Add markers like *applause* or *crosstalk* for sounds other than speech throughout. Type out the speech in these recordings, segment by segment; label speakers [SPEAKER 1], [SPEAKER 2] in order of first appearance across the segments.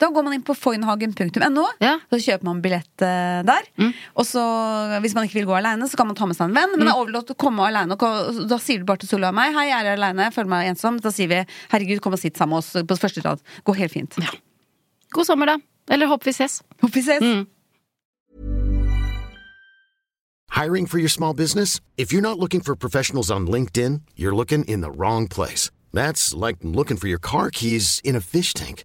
[SPEAKER 1] Da går man inn på foynhagen.no,
[SPEAKER 2] Ja. Mm.
[SPEAKER 1] så kjøper man billett eh, der. Og så, hvis man ikke vil gå aleine, så kan man ta med seg en venn. Men
[SPEAKER 2] Mm.
[SPEAKER 1] det er overlatt å komme aleine. Da sier du bare til Solveig og meg 'Hei, jeg er aleine, føler meg ensom'. Da sier vi 'Herregud, kom og sitt sammen med oss på første rad'. Går helt fint.
[SPEAKER 2] God sommer, da. Eller håper vi ses.
[SPEAKER 1] Håper vi ses.
[SPEAKER 2] Mm.
[SPEAKER 3] Hiring for your small business? If you're not looking for professionals on LinkedIn, you're looking in the wrong place. That's like looking for your car keys in a fish tank.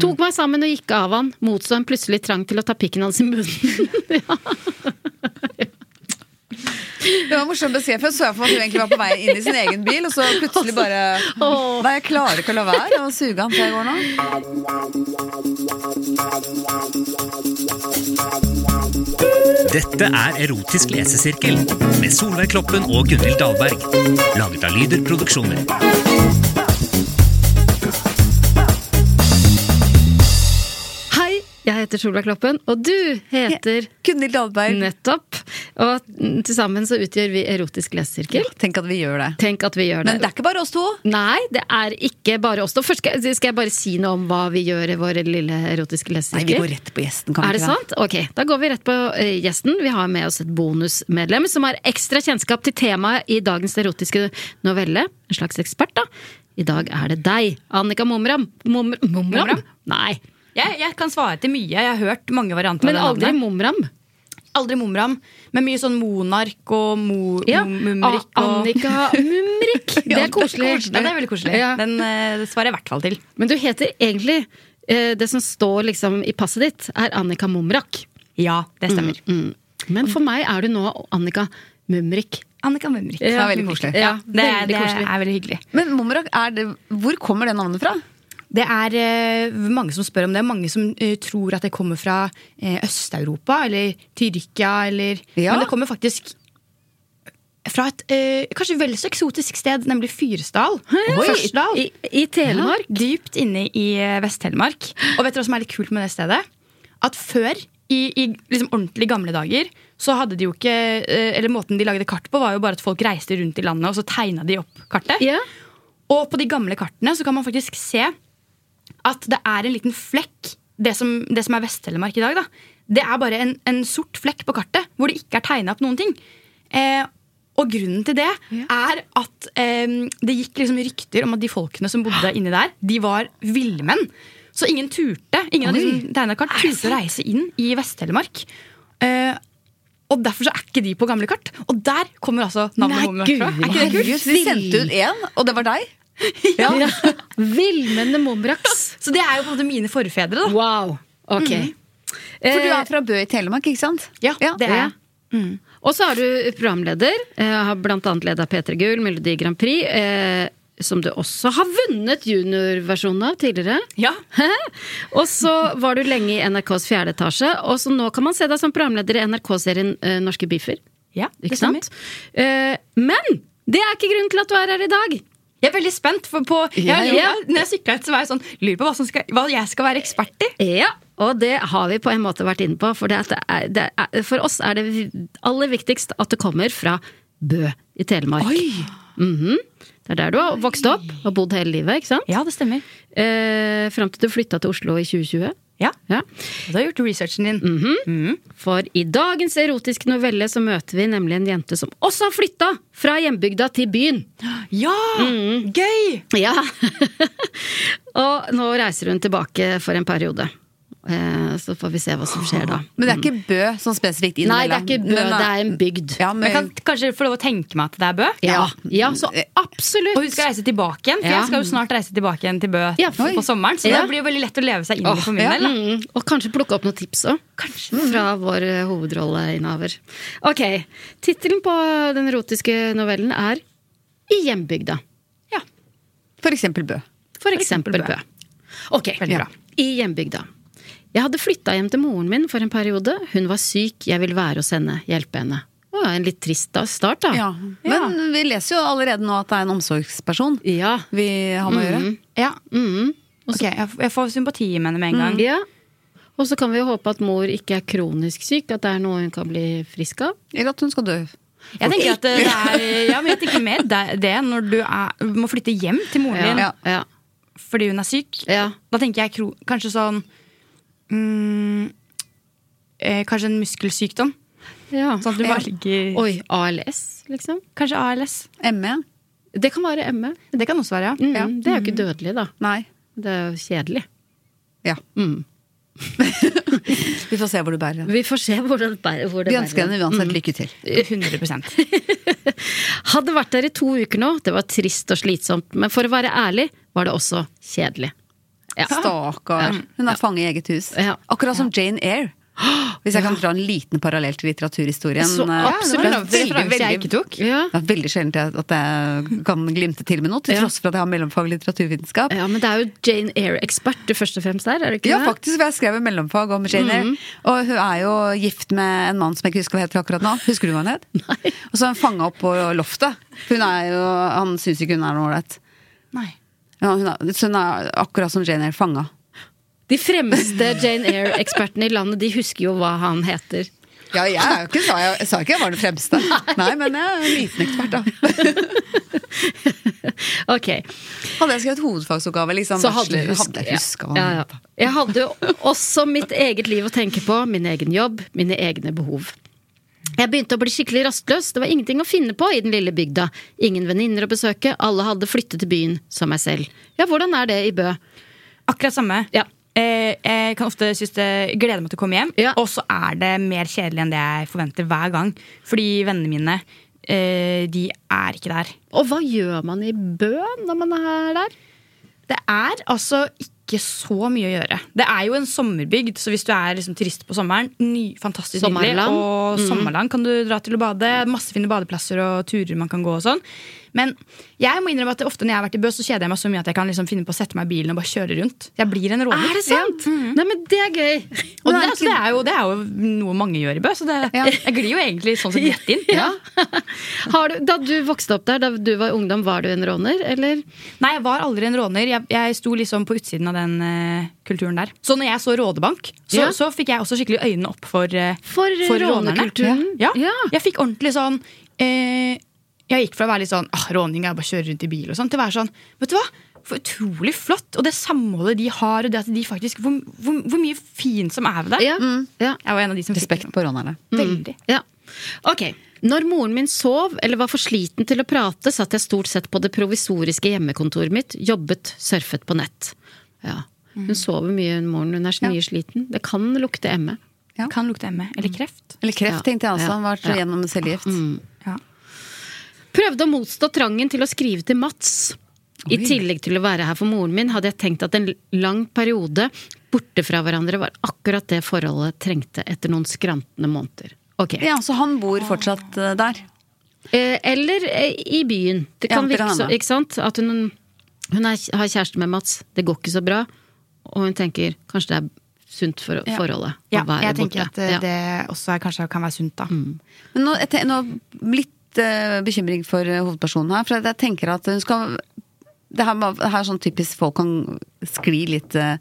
[SPEAKER 2] Tok meg sammen og gikk av han, motstå en plutselig trang til å ta pikken hans i munnen.
[SPEAKER 1] Det var morsomt beskrevet. Så jeg for meg at hun egentlig var på vei inn i sin egen bil, og så plutselig bare
[SPEAKER 2] *laughs* Åh.
[SPEAKER 1] Nei, jeg klarer ikke å la være å suge han til jeg går nå.
[SPEAKER 4] Dette er Erotisk lesesirkel med Solveig Kloppen og Gunhild Dahlberg. Laget av Lyder Produksjoner.
[SPEAKER 2] *laughs* Hei, jeg heter Solveig Kloppen, og du heter
[SPEAKER 1] Gunhild Dahlberg.
[SPEAKER 2] Nettopp. Og mm, til sammen så utgjør vi Erotisk lesesirkel.
[SPEAKER 1] Tenk at vi gjør det.
[SPEAKER 2] Tenk at vi gjør det.
[SPEAKER 1] Men det er ikke bare oss to.
[SPEAKER 2] Nei, det er ikke bare oss to. Først skal jeg, skal jeg bare si noe om hva vi gjør i vår lille erotiske
[SPEAKER 1] Nei, vi
[SPEAKER 2] lesesirkel.
[SPEAKER 1] går rett på gjesten, kan vi
[SPEAKER 2] Er det
[SPEAKER 1] ikke
[SPEAKER 2] sant? Ok, Da går vi rett på eh, gjesten. Vi har med oss et bonusmedlem som har ekstra kjennskap til temaet i dagens erotiske novelle. En slags ekspert, da. I dag er det deg, Annika Mumram. Mum- Mumram? Nei,
[SPEAKER 5] Jeg, jeg kan svare til mye. Jeg har hørt mange varianter
[SPEAKER 2] men
[SPEAKER 5] av det
[SPEAKER 2] aldri
[SPEAKER 5] navnet.
[SPEAKER 2] Mumram.
[SPEAKER 5] Aldri Mumram. Men mye sånn Monark og mo,
[SPEAKER 2] Ja.
[SPEAKER 5] Mum- Mumrik.
[SPEAKER 2] A-
[SPEAKER 5] og- *laughs*
[SPEAKER 2] Annika Mumrik. Det
[SPEAKER 5] Ja,
[SPEAKER 2] er koselig.
[SPEAKER 5] Ja, det er veldig koselig.
[SPEAKER 2] Ja.
[SPEAKER 5] Den eh, det svarer jeg i hvert fall til.
[SPEAKER 2] Men du heter egentlig eh, Det som står liksom i passet ditt, er Annika Mumrak.
[SPEAKER 5] Ja, det stemmer.
[SPEAKER 2] Men for meg er du nå Annika Mumrik.
[SPEAKER 5] Annika Mumrik.
[SPEAKER 2] Ja,
[SPEAKER 1] veldig koselig.
[SPEAKER 5] Ja,
[SPEAKER 2] Ja,
[SPEAKER 5] det, er,
[SPEAKER 2] veldig
[SPEAKER 5] det
[SPEAKER 2] koselig.
[SPEAKER 5] er veldig hyggelig.
[SPEAKER 1] Men Momrak, er det, hvor kommer det navnet fra?
[SPEAKER 5] Det er eh, mange som spør om det. Mange som eh, tror at det kommer fra eh, Øst-Europa eller Tyrkia eller
[SPEAKER 1] Ja.
[SPEAKER 5] Men det kommer faktisk fra et eh, kanskje vel så eksotisk sted, nemlig Fyresdal. Førsdal.
[SPEAKER 2] I, i Telemark.
[SPEAKER 5] Ja, dypt inne i eh, Vest-Telemark. Og vet dere hva som er litt kult med det stedet? At før, i, i liksom ordentlig gamle dager, så hadde de jo ikke eh, Eller måten de lagde kart på, var jo bare at folk reiste rundt i landet, og så tegna de opp kartet.
[SPEAKER 2] Ja.
[SPEAKER 5] Og på de gamle kartene så kan man faktisk se at det er en liten flekk. Det som, det som er Vest-Telemark i dag, da. Det er bare en, en sort flekk på kartet hvor det ikke er tegna opp noen ting. Eh, og grunnen til det er at eh, det gikk liksom rykter om at de folkene som bodde inni der, de var villmenn. Så ingen turte ingen av de som tegna kart, turte å reise inn i Vest-Telemark. Eh, og derfor så er ikke de på gamle kart. Og der kommer altså navnet Momo fra. Er ikke det kult?
[SPEAKER 1] Herregud, vi sendte ut én, og det var deg.
[SPEAKER 2] Ja. Villmenne Mumraks.
[SPEAKER 5] Så det er jo på en måte mine forfedre, da.
[SPEAKER 2] Wow. Ok.
[SPEAKER 5] Mhm.
[SPEAKER 1] For du
[SPEAKER 2] Eh,
[SPEAKER 1] er fra Bø i Telemark, ikke sant?
[SPEAKER 5] Ja, det er Mm.
[SPEAKER 2] ja.
[SPEAKER 5] jeg.
[SPEAKER 2] Og så er du programleder. eh, Har blant annet leda P3 Gull, Melodi Grand Prix. Eh, som du også har vunnet juniorversjonen av tidligere.
[SPEAKER 5] Ja.
[SPEAKER 2] og så var du lenge i NRKs fjerde etasje, og så nå kan man se deg som programleder i NRK-serien eh, Norske biffer.
[SPEAKER 5] Ja, det
[SPEAKER 2] Ikke
[SPEAKER 5] stemmer.
[SPEAKER 2] sant? Eh, men det er ikke grunnen til at du er her i dag.
[SPEAKER 5] Jeg er veldig spent. For på, jeg,
[SPEAKER 1] Ja,
[SPEAKER 2] ja.
[SPEAKER 5] jeg, når jeg sykla hit, så var jeg sånn Lurer på hva, som skal, hva jeg skal være ekspert i.
[SPEAKER 2] Ja, og det har vi på en måte vært inne på. For, det at det er, det er, for oss er det vi- aller viktigst at det kommer fra Bø i Telemark. Mhm. Det er der du har vokst opp og bodd hele livet, ikke sant?
[SPEAKER 5] Ja, det stemmer.
[SPEAKER 2] Eh, Fram til du flytta til Oslo i 2020.
[SPEAKER 5] Ja,
[SPEAKER 2] Ja.
[SPEAKER 5] Du har gjort researchen din.
[SPEAKER 2] For i dagens erotiske novelle så møter vi nemlig en jente som også har flytta fra hjembygda til byen.
[SPEAKER 5] Ja! Gøy!
[SPEAKER 2] Ja. *laughs* og nå reiser hun tilbake for en periode. Eh, Så får vi se hva som skjer da.
[SPEAKER 1] Men det er ikke Bø sånn spesifikt
[SPEAKER 2] Mm. Nei, det er
[SPEAKER 1] innimellom.
[SPEAKER 2] ikke Bø,
[SPEAKER 1] Men, eh,
[SPEAKER 2] det er en bygd.
[SPEAKER 1] ja, men,
[SPEAKER 5] Jeg kan kanskje få lov å tenke meg at det er Bø?
[SPEAKER 2] Ja, ja så absolutt.
[SPEAKER 5] Og hun skal reise tilbake igjen, for
[SPEAKER 2] Ja.
[SPEAKER 5] jeg skal jo snart reise tilbake igjen til Bø
[SPEAKER 2] Ja,
[SPEAKER 5] på
[SPEAKER 2] oi.
[SPEAKER 5] sommeren. Så
[SPEAKER 2] Ja.
[SPEAKER 5] det blir jo veldig lett å leve seg inn i
[SPEAKER 2] Åh,
[SPEAKER 5] for min
[SPEAKER 2] ja.
[SPEAKER 5] del. Da.
[SPEAKER 2] Mm, og kanskje plukke opp noen tips òg. Fra vår eh, hovedrolleinnehaver. Ok, Tittelen på den erotiske novellen er I hjembygda.
[SPEAKER 1] For eksempel Bø.
[SPEAKER 2] For eksempel Bø. Ok,
[SPEAKER 5] Veldig bra.
[SPEAKER 2] I hjembygda. Jeg hadde flytta hjem til moren min for en periode. Hun var syk, jeg ville være hos henne, hjelpe henne. Det var en litt trist da- start, da.
[SPEAKER 1] Ja. Men vi leser jo allerede nå at det er en omsorgsperson
[SPEAKER 2] Ja.
[SPEAKER 1] vi har med å gjøre.
[SPEAKER 2] Mm.
[SPEAKER 5] Ja. Mm. Ok, jeg, jeg får sympati med henne med en gang.
[SPEAKER 2] ja. Og så kan vi jo håpe at mor ikke er kronisk syk, at det er noe hun kan bli frisk av.
[SPEAKER 1] Eller at hun skal dø.
[SPEAKER 5] Jeg tenker at eh, *laughs* det er, ja, men jeg tenker mer det, det når du er, må flytte hjem til moren din
[SPEAKER 2] Ja. Ja.
[SPEAKER 5] fordi hun er syk.
[SPEAKER 2] Ja.
[SPEAKER 5] Da tenker jeg kro, kanskje sånn mm, eh, Kanskje en muskelsykdom.
[SPEAKER 2] ja.
[SPEAKER 5] Sånn at du
[SPEAKER 1] Ja.
[SPEAKER 5] bare ligger
[SPEAKER 2] Oi, ALS, liksom?
[SPEAKER 5] Kanskje ALS.
[SPEAKER 1] ME?
[SPEAKER 2] Det kan være ME.
[SPEAKER 5] Det kan også være, ja.
[SPEAKER 2] Mm, Det er jo ikke dødelig, da.
[SPEAKER 1] Nei.
[SPEAKER 2] Det er jo kjedelig.
[SPEAKER 1] Ja. *laughs* vi får se hvor du bærer den.
[SPEAKER 2] Vi får se hvor Mm. det bærer. Mm. Hvor det
[SPEAKER 1] Vi ønsker henne uansett lykke til.
[SPEAKER 5] Eh, *laughs* 100
[SPEAKER 2] *laughs* Hadde vært der i to uker nå. Det var trist og slitsomt. Men for å være ærlig var det også kjedelig. Ja.
[SPEAKER 1] Stakkar. Hun er fange i eget hus.
[SPEAKER 2] Ja.
[SPEAKER 1] Akkurat som Jane Eyre. Hvis jeg kan dra en liten parallell til litteraturhistorien.
[SPEAKER 2] Så
[SPEAKER 1] eh,
[SPEAKER 2] absolutt.
[SPEAKER 1] det er
[SPEAKER 5] Det var en referanse jeg ikke tok.
[SPEAKER 2] Ja.
[SPEAKER 1] Det er veldig sjelden at at jeg kan glimte til med noe, til
[SPEAKER 2] Ja.
[SPEAKER 1] tross for at jeg har mellomfag i litteraturvitenskap.
[SPEAKER 2] ja, men det er jo Jane Eyre-ekspert du først og fremst er, er det ikke
[SPEAKER 1] Ja,
[SPEAKER 2] det?
[SPEAKER 1] faktisk, for jeg skrev en mellomfag om Jane Eyre.
[SPEAKER 2] Mhm.
[SPEAKER 1] Og hun er jo gift med en mann som jeg ikke husker hva heter akkurat nå. Husker du hva han het?
[SPEAKER 2] *laughs* Nei.
[SPEAKER 1] Og så er hun fanga opp på loftet. Hun er jo, han syns ikke hun er noe ålreit.
[SPEAKER 5] Nei.
[SPEAKER 1] Ja, hun er, så hun er akkurat som Jane Eyre, fanga.
[SPEAKER 2] De fremste Jane Eyre-ekspertene i landet, de husker jo hva han heter.
[SPEAKER 1] Ja, jeg, er jo ikke, sa, jeg sa ikke jeg var den fremste. Nei. men jeg er en liten ekspert, da.
[SPEAKER 2] Ok,
[SPEAKER 1] *laughs* Hadde jeg skrevet hovedfagsoppgave, liksom,
[SPEAKER 2] så hadde
[SPEAKER 1] bachelor,
[SPEAKER 2] du
[SPEAKER 1] hadde jeg huska hva
[SPEAKER 2] ja,
[SPEAKER 1] han
[SPEAKER 2] ja.
[SPEAKER 1] het. da.
[SPEAKER 2] Jeg hadde jo også mitt eget liv å tenke på, min egen jobb, mine egne behov. Jeg begynte å bli skikkelig rastløs, det var ingenting å finne på i den lille bygda. Ingen venninner å besøke, alle hadde flyttet til byen, som meg selv. Ja, hvordan er det i Bø?
[SPEAKER 5] Akkurat samme.
[SPEAKER 2] Ja.
[SPEAKER 5] Eh, jeg kan ofte synes det glede meg til å komme hjem,
[SPEAKER 2] Ja.
[SPEAKER 5] og så er det mer kjedelig enn det jeg forventer hver gang. Fordi vennene mine, eh, de er ikke der.
[SPEAKER 2] Og hva gjør man i Bø når man er der?
[SPEAKER 5] Det er altså ikke så mye å gjøre. Det er jo en sommerbygd, så hvis du er liksom turist på sommeren, ny, fantastisk
[SPEAKER 2] Sommerland. Mm.
[SPEAKER 5] nydelig. Og sommerland kan du dra til å bade. Masse fine badeplasser og turer man kan gå og sånn. Men jeg må innrømme at ofte når jeg har vært i Bø, så kjeder jeg meg så mye at jeg kan liksom finne på å sette meg i bilen og bare kjøre rundt. Jeg blir en råner.
[SPEAKER 2] Er det sant? Nei, men det er gøy.
[SPEAKER 5] Og det, altså, det, er jo, det er jo noe mange gjør i Bø, så det, jeg glir jo egentlig sånn sett rett
[SPEAKER 2] *laughs*
[SPEAKER 5] inn.
[SPEAKER 2] Har du, da du vokste opp der, da du var ungdom, var du en råner, eller?
[SPEAKER 5] Nei, jeg var aldri en råner. Jeg, jeg sto liksom på utsiden av den eh, kulturen der. Så når jeg så Rådebank, så,
[SPEAKER 2] Ja.
[SPEAKER 5] så fikk jeg også skikkelig øynene opp for, eh,
[SPEAKER 2] For, eh, rånekulturen.
[SPEAKER 5] Ja.
[SPEAKER 2] Ja.
[SPEAKER 5] Ja. Jeg fikk ordentlig sånn eh, Jeg gikk fra å være litt sånn ah, råning er bare å kjøre rundt i bil og sånn, til å være sånn Vet du hva? For utrolig flott! Og det samholdet de har, og det at de faktisk Hvor, hvor, hvor mye fint som er ved det.
[SPEAKER 2] Ja. Mm. ja.
[SPEAKER 5] Jeg var en av de som
[SPEAKER 1] Respekt
[SPEAKER 5] fikk
[SPEAKER 1] på rånerne.
[SPEAKER 5] det. Veldig.
[SPEAKER 2] Ja. Ok. Når moren min sov eller var for sliten til å prate, satt jeg stort sett på det provisoriske hjemmekontoret mitt, jobbet, surfet på nett. Ja. Hun sover mye, hun moren. Hun er så mye sliten. Det kan lukte E. emme.
[SPEAKER 1] Ja.
[SPEAKER 5] Kan lukte ME eller
[SPEAKER 2] Mm.
[SPEAKER 5] kreft.
[SPEAKER 1] Eller kreft,
[SPEAKER 2] Ja,
[SPEAKER 1] tenkte jeg også.
[SPEAKER 2] ja,
[SPEAKER 1] Han var
[SPEAKER 2] ja.
[SPEAKER 1] gjennom cellegift.
[SPEAKER 5] Ja.
[SPEAKER 2] Prøvde å motstå trangen til å skrive til Mats. I
[SPEAKER 1] Oi.
[SPEAKER 2] tillegg til å være her for moren min, hadde jeg tenkt at en lang periode borte fra hverandre var akkurat det forholdet trengte etter noen skrantende måneder. Ok.
[SPEAKER 1] Ja, Så han bor fortsatt eh, der.
[SPEAKER 2] Eh, Eller eh, i byen. Det kan
[SPEAKER 1] Ja, til
[SPEAKER 2] virke så,
[SPEAKER 1] henne.
[SPEAKER 2] ikke sant? At hun, hun er, har kjæreste med Mats, det går ikke så bra. Og hun tenker kanskje det er sunt for forholdet
[SPEAKER 5] Ja,
[SPEAKER 2] å være
[SPEAKER 1] eh,
[SPEAKER 5] jeg tenker
[SPEAKER 2] borte.
[SPEAKER 5] at eh, det også er, kanskje kan være sunt, da.
[SPEAKER 1] Men nå, etter, nå litt litt eh, bekymring for eh, hovedpersonen her. For jeg tenker at hun skal Det her, det her er sånn typisk folk kan skli litt uh,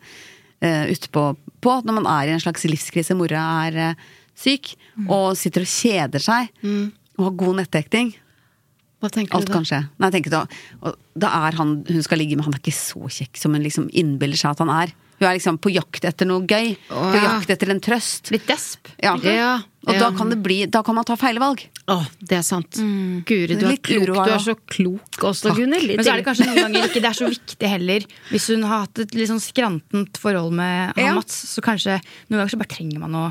[SPEAKER 1] utpå på. Når man er i en slags livskrise. Mora er eh, syk
[SPEAKER 2] Mm.
[SPEAKER 1] og sitter og kjeder seg. Og har god nettdekning.
[SPEAKER 2] Hva tenker
[SPEAKER 1] Alt
[SPEAKER 2] du da?
[SPEAKER 1] kan skje. Nei, jeg tenker da, og da er han hun skal ligge med, han er ikke så kjekk som hun liksom innbiller seg at han er. Hun er liksom på jakt etter noe gøy.
[SPEAKER 2] Å,
[SPEAKER 1] På
[SPEAKER 2] ja.
[SPEAKER 1] jakt etter en trøst.
[SPEAKER 5] Litt desp.
[SPEAKER 1] Ja.
[SPEAKER 2] Ja,
[SPEAKER 1] Og da
[SPEAKER 2] ja.
[SPEAKER 1] kan, det bli, da kan man ta feile valg.
[SPEAKER 2] Å, det er sant. Guri, du er,
[SPEAKER 1] Mm. Litt
[SPEAKER 2] klok.
[SPEAKER 1] uro her
[SPEAKER 2] du
[SPEAKER 1] nå.
[SPEAKER 2] er så klok også, Gunhild.
[SPEAKER 5] Men så er det kanskje noen ganger ikke det er så viktig heller. Hvis hun har hatt et litt sånn skrantent forhold med han
[SPEAKER 1] Ja.
[SPEAKER 5] Mats, så kanskje noen ganger så bare trenger man å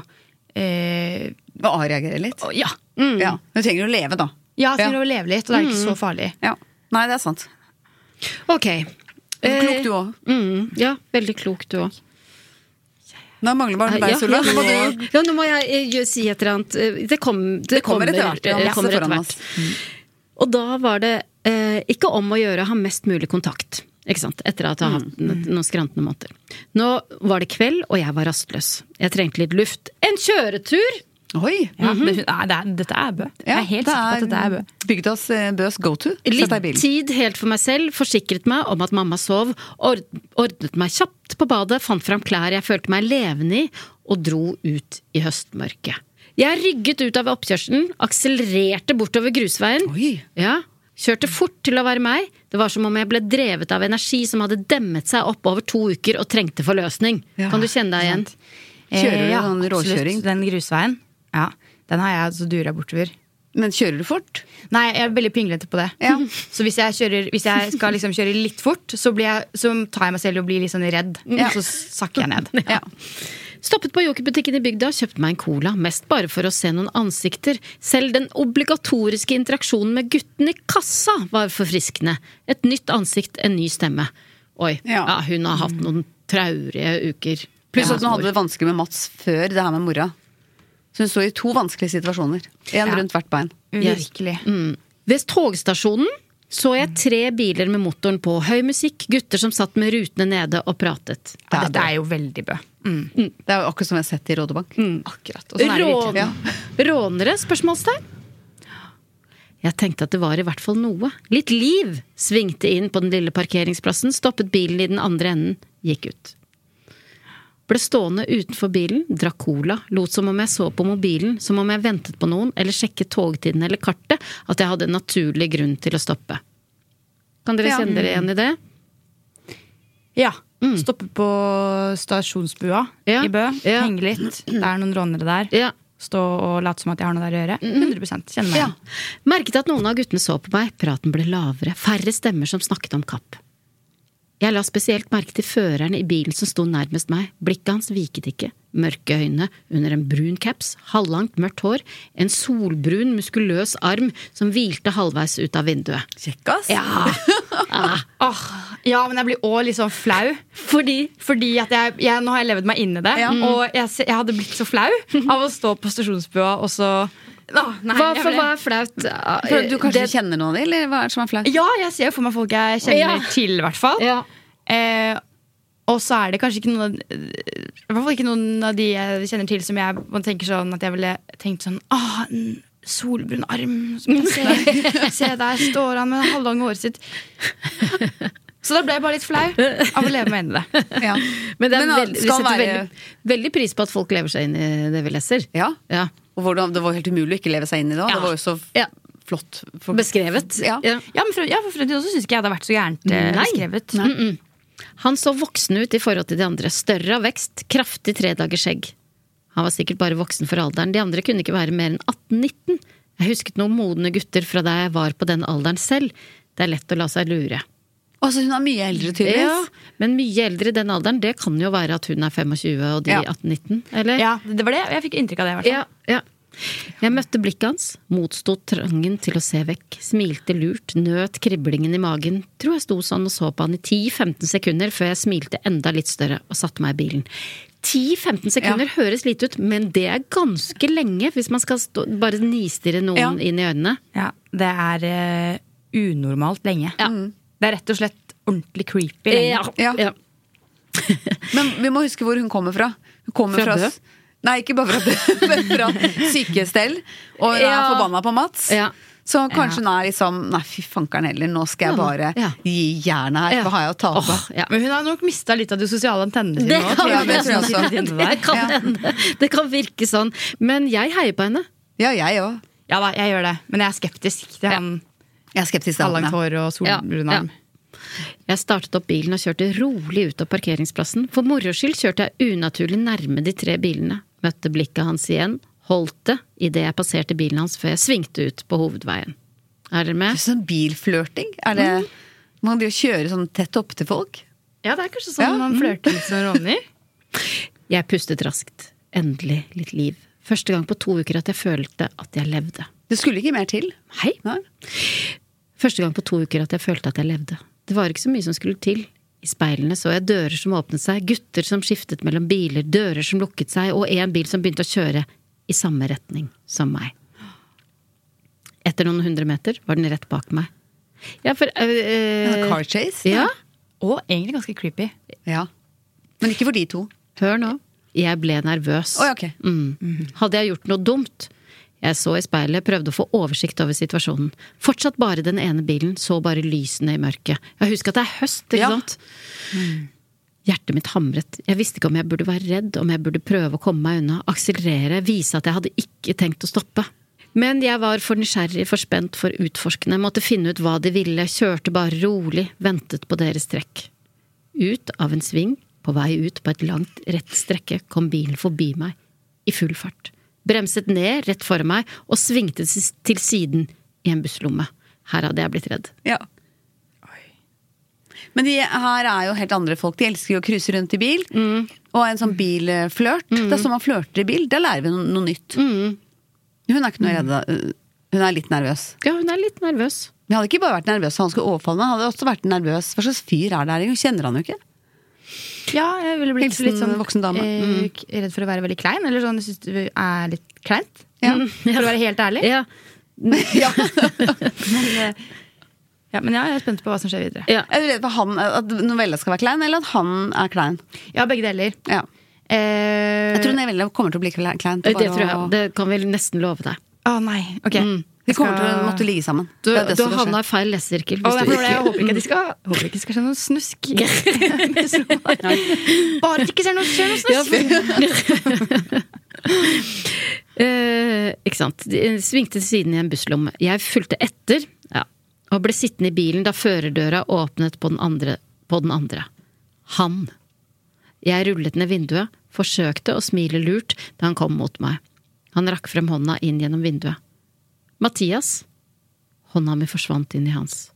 [SPEAKER 5] eh,
[SPEAKER 1] Og avreagere litt.
[SPEAKER 5] å- Ja,
[SPEAKER 1] Ja. Hun trenger jo å leve, da. Ja. Mm.
[SPEAKER 5] ja trenger å leve litt, og det er ikke så farlig.
[SPEAKER 1] Ja. Nei, det er sant.
[SPEAKER 2] Ok.
[SPEAKER 1] Klok du òg.
[SPEAKER 2] Mm, ja, veldig klok du òg.
[SPEAKER 1] Nå mangler bare deg,
[SPEAKER 2] ja,
[SPEAKER 1] Solveig.
[SPEAKER 2] ja,
[SPEAKER 1] Nå må
[SPEAKER 2] nå-
[SPEAKER 1] du
[SPEAKER 2] *laughs* ja, nå må jeg eh, gjø- si et eller annet. Eh, Det, kom, det,
[SPEAKER 1] kommer etter hvert, ja.
[SPEAKER 2] eh,
[SPEAKER 1] Masse
[SPEAKER 2] kommer etter
[SPEAKER 1] foran
[SPEAKER 2] hvert.
[SPEAKER 1] oss.
[SPEAKER 2] Og da var det eh, ikke om å gjøre å ha mest mulig kontakt. Ikke sant? Etter at jeg har hatt
[SPEAKER 1] Mm.
[SPEAKER 2] n- noen skrantende måneder. Nå var det kveld, og jeg var rastløs. Jeg trengte litt luft. En kjøretur!
[SPEAKER 1] Oi!
[SPEAKER 5] Ja, det, nei, det er, dette er Bø. jeg er helt sikker på at dette er Bø.
[SPEAKER 1] Bygdas eh, Bøs go to. Sett deg i
[SPEAKER 2] Litt
[SPEAKER 1] bilen.
[SPEAKER 2] tid helt for meg selv, forsikret meg om at mamma sov, ord- ordnet meg kjapt på badet, fant fram klær jeg følte meg levende i, og dro ut i høstmørket. Jeg rygget ut av oppkjørselen, akselererte bortover grusveien.
[SPEAKER 1] Oi.
[SPEAKER 2] Ja, kjørte fort til å være meg. Det var som om jeg ble drevet av energi som hadde demmet seg opp over to uker og trengte forløsning.
[SPEAKER 1] Ja,
[SPEAKER 2] kan du kjenne deg igjen?
[SPEAKER 1] Kjører du
[SPEAKER 5] Eh, ja,
[SPEAKER 1] sånn
[SPEAKER 5] absolutt.
[SPEAKER 1] råkjøring?
[SPEAKER 5] Den grusveien, ja, den har jeg altså dura bortover.
[SPEAKER 1] Men kjører du fort?
[SPEAKER 5] Nei, jeg er veldig pinglete på det.
[SPEAKER 1] Ja.
[SPEAKER 5] *laughs* Så hvis jeg, kjører, hvis jeg skal liksom kjøre litt fort, så, blir jeg, så tar jeg meg selv og blir litt sånn redd. Og så sakker jeg ned.
[SPEAKER 1] *laughs* Ja.
[SPEAKER 2] Stoppet på jokerbutikken i bygda og kjøpte meg en cola, mest bare for å se noen ansikter. Selv den obligatoriske interaksjonen med gutten i kassa var forfriskende. Et nytt ansikt, en ny stemme. Oi, ja,
[SPEAKER 1] Ja.
[SPEAKER 2] hun har hatt noen traurige uker.
[SPEAKER 1] Pluss
[SPEAKER 2] Ja.
[SPEAKER 1] at hun hadde det vanskelig med Mats før det her med mora. Så hun står i to vanskelige situasjoner. Én rundt hvert bein.
[SPEAKER 5] Virkelig.
[SPEAKER 2] Ved togstasjonen så jeg tre biler med motoren på, høy musikk, gutter som satt med rutene nede og pratet.
[SPEAKER 5] Ja, dette er jo veldig Bø.
[SPEAKER 1] Det er jo akkurat som jeg har sett i Rådebank.
[SPEAKER 5] Akkurat. Og sånn er det
[SPEAKER 2] Rån,
[SPEAKER 5] virkelig.
[SPEAKER 2] Rånere? spørsmålstegn? Jeg tenkte at det var i hvert fall noe. Litt liv! Svingte inn på den lille parkeringsplassen, stoppet bilen i den andre enden, gikk ut. Ble stående utenfor bilen, drakk cola, lot som om jeg så på mobilen, som om jeg ventet på noen, eller sjekket togtiden eller kartet, at jeg hadde en naturlig grunn til å stoppe. Kan dere
[SPEAKER 1] Ja.
[SPEAKER 2] kjenne dere igjen i det?
[SPEAKER 5] Ja. Stoppe på stasjonsbua
[SPEAKER 2] Ja.
[SPEAKER 5] i Bø.
[SPEAKER 2] Ja.
[SPEAKER 5] Henge litt. Det er noen rånere der.
[SPEAKER 2] Ja.
[SPEAKER 5] Stå og late som at jeg har noe der å gjøre. 100 Kjenner meg igjen.
[SPEAKER 2] Merket at noen av guttene så på meg, praten ble lavere, færre stemmer som snakket om kapp. Jeg la spesielt merke til føreren i bilen som sto nærmest meg, blikket hans viket ikke, mørke øyne under en brun caps, halvlangt mørkt hår, en solbrun, muskuløs arm som hvilte halvveis ut av vinduet. Ah.
[SPEAKER 1] Kjekkas. *laughs*
[SPEAKER 5] Åh, ja, men jeg blir òg litt sånn flau. Fordi, at jeg, jeg, Nå har jeg levd meg inn i det, og jeg, se- jeg hadde blitt så flau av å stå på stasjonsbua og så Åh, nei,
[SPEAKER 2] Hva,
[SPEAKER 5] jeg
[SPEAKER 2] for,
[SPEAKER 5] ble-
[SPEAKER 2] hva er flaut?
[SPEAKER 1] For du kanskje
[SPEAKER 2] Det-
[SPEAKER 1] kjenner noen av dem, eller hva er det som er flaut?
[SPEAKER 5] Ja, jeg ser jo for meg folk jeg kjenner
[SPEAKER 2] Ja.
[SPEAKER 5] til, i hvert fall.
[SPEAKER 2] Ja.
[SPEAKER 5] Eh, og så er det kanskje ikke noen av- I hvert fall ikke noen av de jeg kjenner til som jeg man tenker sånn at jeg ville tenkt sånn Åh, en solbrun arm som jeg ser. Se, der står han med det halvlange håret sitt. Så da ble jeg bare litt flau av å leve meg inn i det.
[SPEAKER 1] Ja.
[SPEAKER 2] Men det er
[SPEAKER 1] Men,
[SPEAKER 2] veldig, vi
[SPEAKER 1] skal
[SPEAKER 2] setter
[SPEAKER 1] være-
[SPEAKER 2] veldig, veldig pris på at folk lever seg inn i det vi leser.
[SPEAKER 1] Ja.
[SPEAKER 2] Ja.
[SPEAKER 1] Og hvordan, det var helt umulig å ikke leve seg inn i det. og
[SPEAKER 2] Ja.
[SPEAKER 1] Det var jo så
[SPEAKER 2] Ja.
[SPEAKER 1] flott. for-
[SPEAKER 2] Beskrevet.
[SPEAKER 1] Ja.
[SPEAKER 5] Ja, men for, ja, for fremtiden også syns ikke jeg det har vært så gærent eh,
[SPEAKER 2] Nei.
[SPEAKER 5] beskrevet.
[SPEAKER 2] Han så voksen ut i forhold til de andre. Større av vekst, kraftig tredagers skjegg. Han var sikkert bare voksen for alderen. De andre kunne ikke være mer enn 18-19. Jeg husket noen modne gutter fra da jeg var på den alderen selv. Det er lett å la seg lure.
[SPEAKER 1] Og så hun er mye eldre,
[SPEAKER 2] Ja,
[SPEAKER 1] tydeligvis.
[SPEAKER 2] men mye eldre i den alderen, det kan jo være at hun er 25 og de
[SPEAKER 1] Ja.
[SPEAKER 2] 18-19, eller?
[SPEAKER 5] Ja, det var det. Jeg fikk inntrykk av det. i hvert fall
[SPEAKER 2] Ja, ja. Jeg møtte blikket hans, motsto trangen til å se vekk, smilte lurt, nøt kriblingen i magen, tror jeg sto sånn og så på han i 10-15 sekunder før jeg smilte enda litt større og satte meg i bilen. 10-15 sekunder høres lite ut, men det er ganske lenge hvis man skal stå, bare nistirre noen
[SPEAKER 1] Ja.
[SPEAKER 2] inn i øynene.
[SPEAKER 5] Ja, det er eh, unormalt lenge. Det er rett og slett ordentlig creepy lenge.
[SPEAKER 1] Ja.
[SPEAKER 2] ja.
[SPEAKER 1] Men vi må huske hvor hun kommer fra. Hun kommer
[SPEAKER 2] Fra
[SPEAKER 1] fra,
[SPEAKER 2] Bø?
[SPEAKER 1] s- *laughs* Nei, ikke bare fra Bø, men fra sykestell. Og hun er
[SPEAKER 2] Ja.
[SPEAKER 1] forbanna på Mats.
[SPEAKER 2] Ja.
[SPEAKER 1] Så kanskje hun er liksom Nei, fy fankeren heller, nå skal jeg bare
[SPEAKER 2] Ja.
[SPEAKER 1] gi jernet her.
[SPEAKER 2] Ja.
[SPEAKER 1] Hva har jeg å tape?
[SPEAKER 2] Åh, ja.
[SPEAKER 5] Men hun har nok mista litt av de sosiale antennene
[SPEAKER 2] Det
[SPEAKER 5] sine. nå,
[SPEAKER 2] kan,
[SPEAKER 5] tror jeg.
[SPEAKER 1] det tror jeg også.
[SPEAKER 2] hende. *laughs* det, kan
[SPEAKER 1] Ja.
[SPEAKER 2] hende. det kan virke sånn. Men jeg heier på henne.
[SPEAKER 1] Ja, jeg òg.
[SPEAKER 5] Ja da, jeg gjør det. Men jeg er skeptisk til han
[SPEAKER 1] Jeg er skeptisk til
[SPEAKER 5] halvlangt
[SPEAKER 1] alt.
[SPEAKER 5] hår og
[SPEAKER 2] Ja,
[SPEAKER 5] solbrunarm.
[SPEAKER 2] Jeg startet opp bilen og kjørte rolig ut av parkeringsplassen. For moro skyld kjørte jeg unaturlig nærme de tre bilene. Møtte blikket hans igjen. Holdt det idet jeg passerte bilen hans før jeg svingte ut på hovedveien. Er dere med?
[SPEAKER 1] Sånn bilflørting? Er det
[SPEAKER 2] Mm.
[SPEAKER 1] Man blir jo kjøre sånn tett opp til folk.
[SPEAKER 5] Ja. det er kanskje
[SPEAKER 1] Ja. mm.
[SPEAKER 5] sånn man flørter litt som råner.
[SPEAKER 2] *laughs* Jeg pustet raskt. Endelig litt liv. Første gang på to uker at jeg følte at jeg levde.
[SPEAKER 1] Det skulle ikke mer til.
[SPEAKER 2] Hei!
[SPEAKER 1] Nei.
[SPEAKER 2] Første gang på to uker at jeg følte at jeg levde. Det var ikke så mye som skulle til. I speilene så jeg dører som åpnet seg, gutter som skiftet mellom biler, dører som lukket seg, og en bil som begynte å kjøre i samme retning som meg. Etter noen hundre meter var den rett bak meg. Ja, for øh, øh,
[SPEAKER 1] Car chase?
[SPEAKER 2] Ja,
[SPEAKER 5] Og egentlig ganske creepy.
[SPEAKER 1] Ja. Men ikke for de to.
[SPEAKER 2] hør nå. Jeg ble nervøs.
[SPEAKER 1] Å, ja, ok.
[SPEAKER 2] Mm. Hadde jeg gjort noe dumt? Jeg så i speilet, prøvde å få oversikt over situasjonen. Fortsatt bare den ene bilen, så bare lysene i mørket. Jeg husker at det er høst, ikke
[SPEAKER 1] Ja.
[SPEAKER 2] sant? Hjertet mitt hamret. Jeg visste ikke om jeg burde være redd, om jeg burde prøve å komme meg unna, akselerere, vise at jeg hadde ikke tenkt å stoppe. Men jeg var for nysgjerrig, for spent, for utforskende, måtte finne ut hva de ville, kjørte bare rolig, ventet på deres trekk. Ut av en sving, på vei ut på et langt, rett strekke, kom bilen forbi meg i full fart. Bremset ned rett foran meg og svingte s- til siden i en busslomme. Her hadde jeg blitt redd.
[SPEAKER 1] Ja. Men de her er jo helt andre folk. De elsker jo å cruise rundt i bil. Og en sånn bilflørt. Det er sånn man flørter i bil. Da lærer vi no noe nytt. Hun er ikke noe redd. da. Hun er litt nervøs.
[SPEAKER 2] Ja, hun er litt nervøs.
[SPEAKER 1] Men jeg hadde ikke bare vært nervøs for han skulle overfalle meg. Jeg hadde også vært nervøs. Hva slags fyr er det her? Hun kjenner han jo ikke.
[SPEAKER 5] Ja, jeg ville blitt
[SPEAKER 1] Hilsen
[SPEAKER 5] litt sånn
[SPEAKER 1] voksen dame. Mm.
[SPEAKER 5] eh, k- redd for å være veldig klein. Eller sånn, jeg synes det er litt kleint. Mm, For å være helt ærlig. eh,
[SPEAKER 2] Ja,
[SPEAKER 1] *laughs* ja.
[SPEAKER 5] Ja, men ja, jeg er spent på hva som skjer videre.
[SPEAKER 2] ja.
[SPEAKER 1] Er du redd for han, at novella skal være klein, eller at han er klein?
[SPEAKER 5] Ja, begge deler.
[SPEAKER 1] Ja.
[SPEAKER 5] Eh,
[SPEAKER 1] Jeg tror novella kommer til å bli kle- klein.
[SPEAKER 2] Det
[SPEAKER 1] bare
[SPEAKER 2] tror jeg.
[SPEAKER 1] å-
[SPEAKER 2] Det kan vi nesten love deg.
[SPEAKER 5] Å nei, ok.
[SPEAKER 1] De
[SPEAKER 5] Jeg
[SPEAKER 1] kommer
[SPEAKER 5] skal-
[SPEAKER 1] til å måtte ligge sammen.
[SPEAKER 2] Du,
[SPEAKER 1] Det er
[SPEAKER 2] du
[SPEAKER 1] det som skal skje.
[SPEAKER 2] havna i feil lesesirkel.
[SPEAKER 5] Å, nei,
[SPEAKER 2] hvis du
[SPEAKER 5] for det, jeg
[SPEAKER 2] ikke-
[SPEAKER 5] håper ikke at de skal Håper ikke det skal skje noe
[SPEAKER 2] *laughs*
[SPEAKER 5] snusk. Bare at det ikke skjer noe, skjer
[SPEAKER 2] Ja,
[SPEAKER 5] noe snusk!
[SPEAKER 2] Eh, ikke sant. De Svingte til siden i en busslomme. Jeg fulgte etter ja, og ble sittende i bilen da førerdøra åpnet på den andre. På den andre. Han. Jeg rullet ned vinduet, forsøkte å smile lurt da han kom mot meg. Han rakk frem hånda inn gjennom vinduet. Mathias. Hånda mi forsvant inn i hans.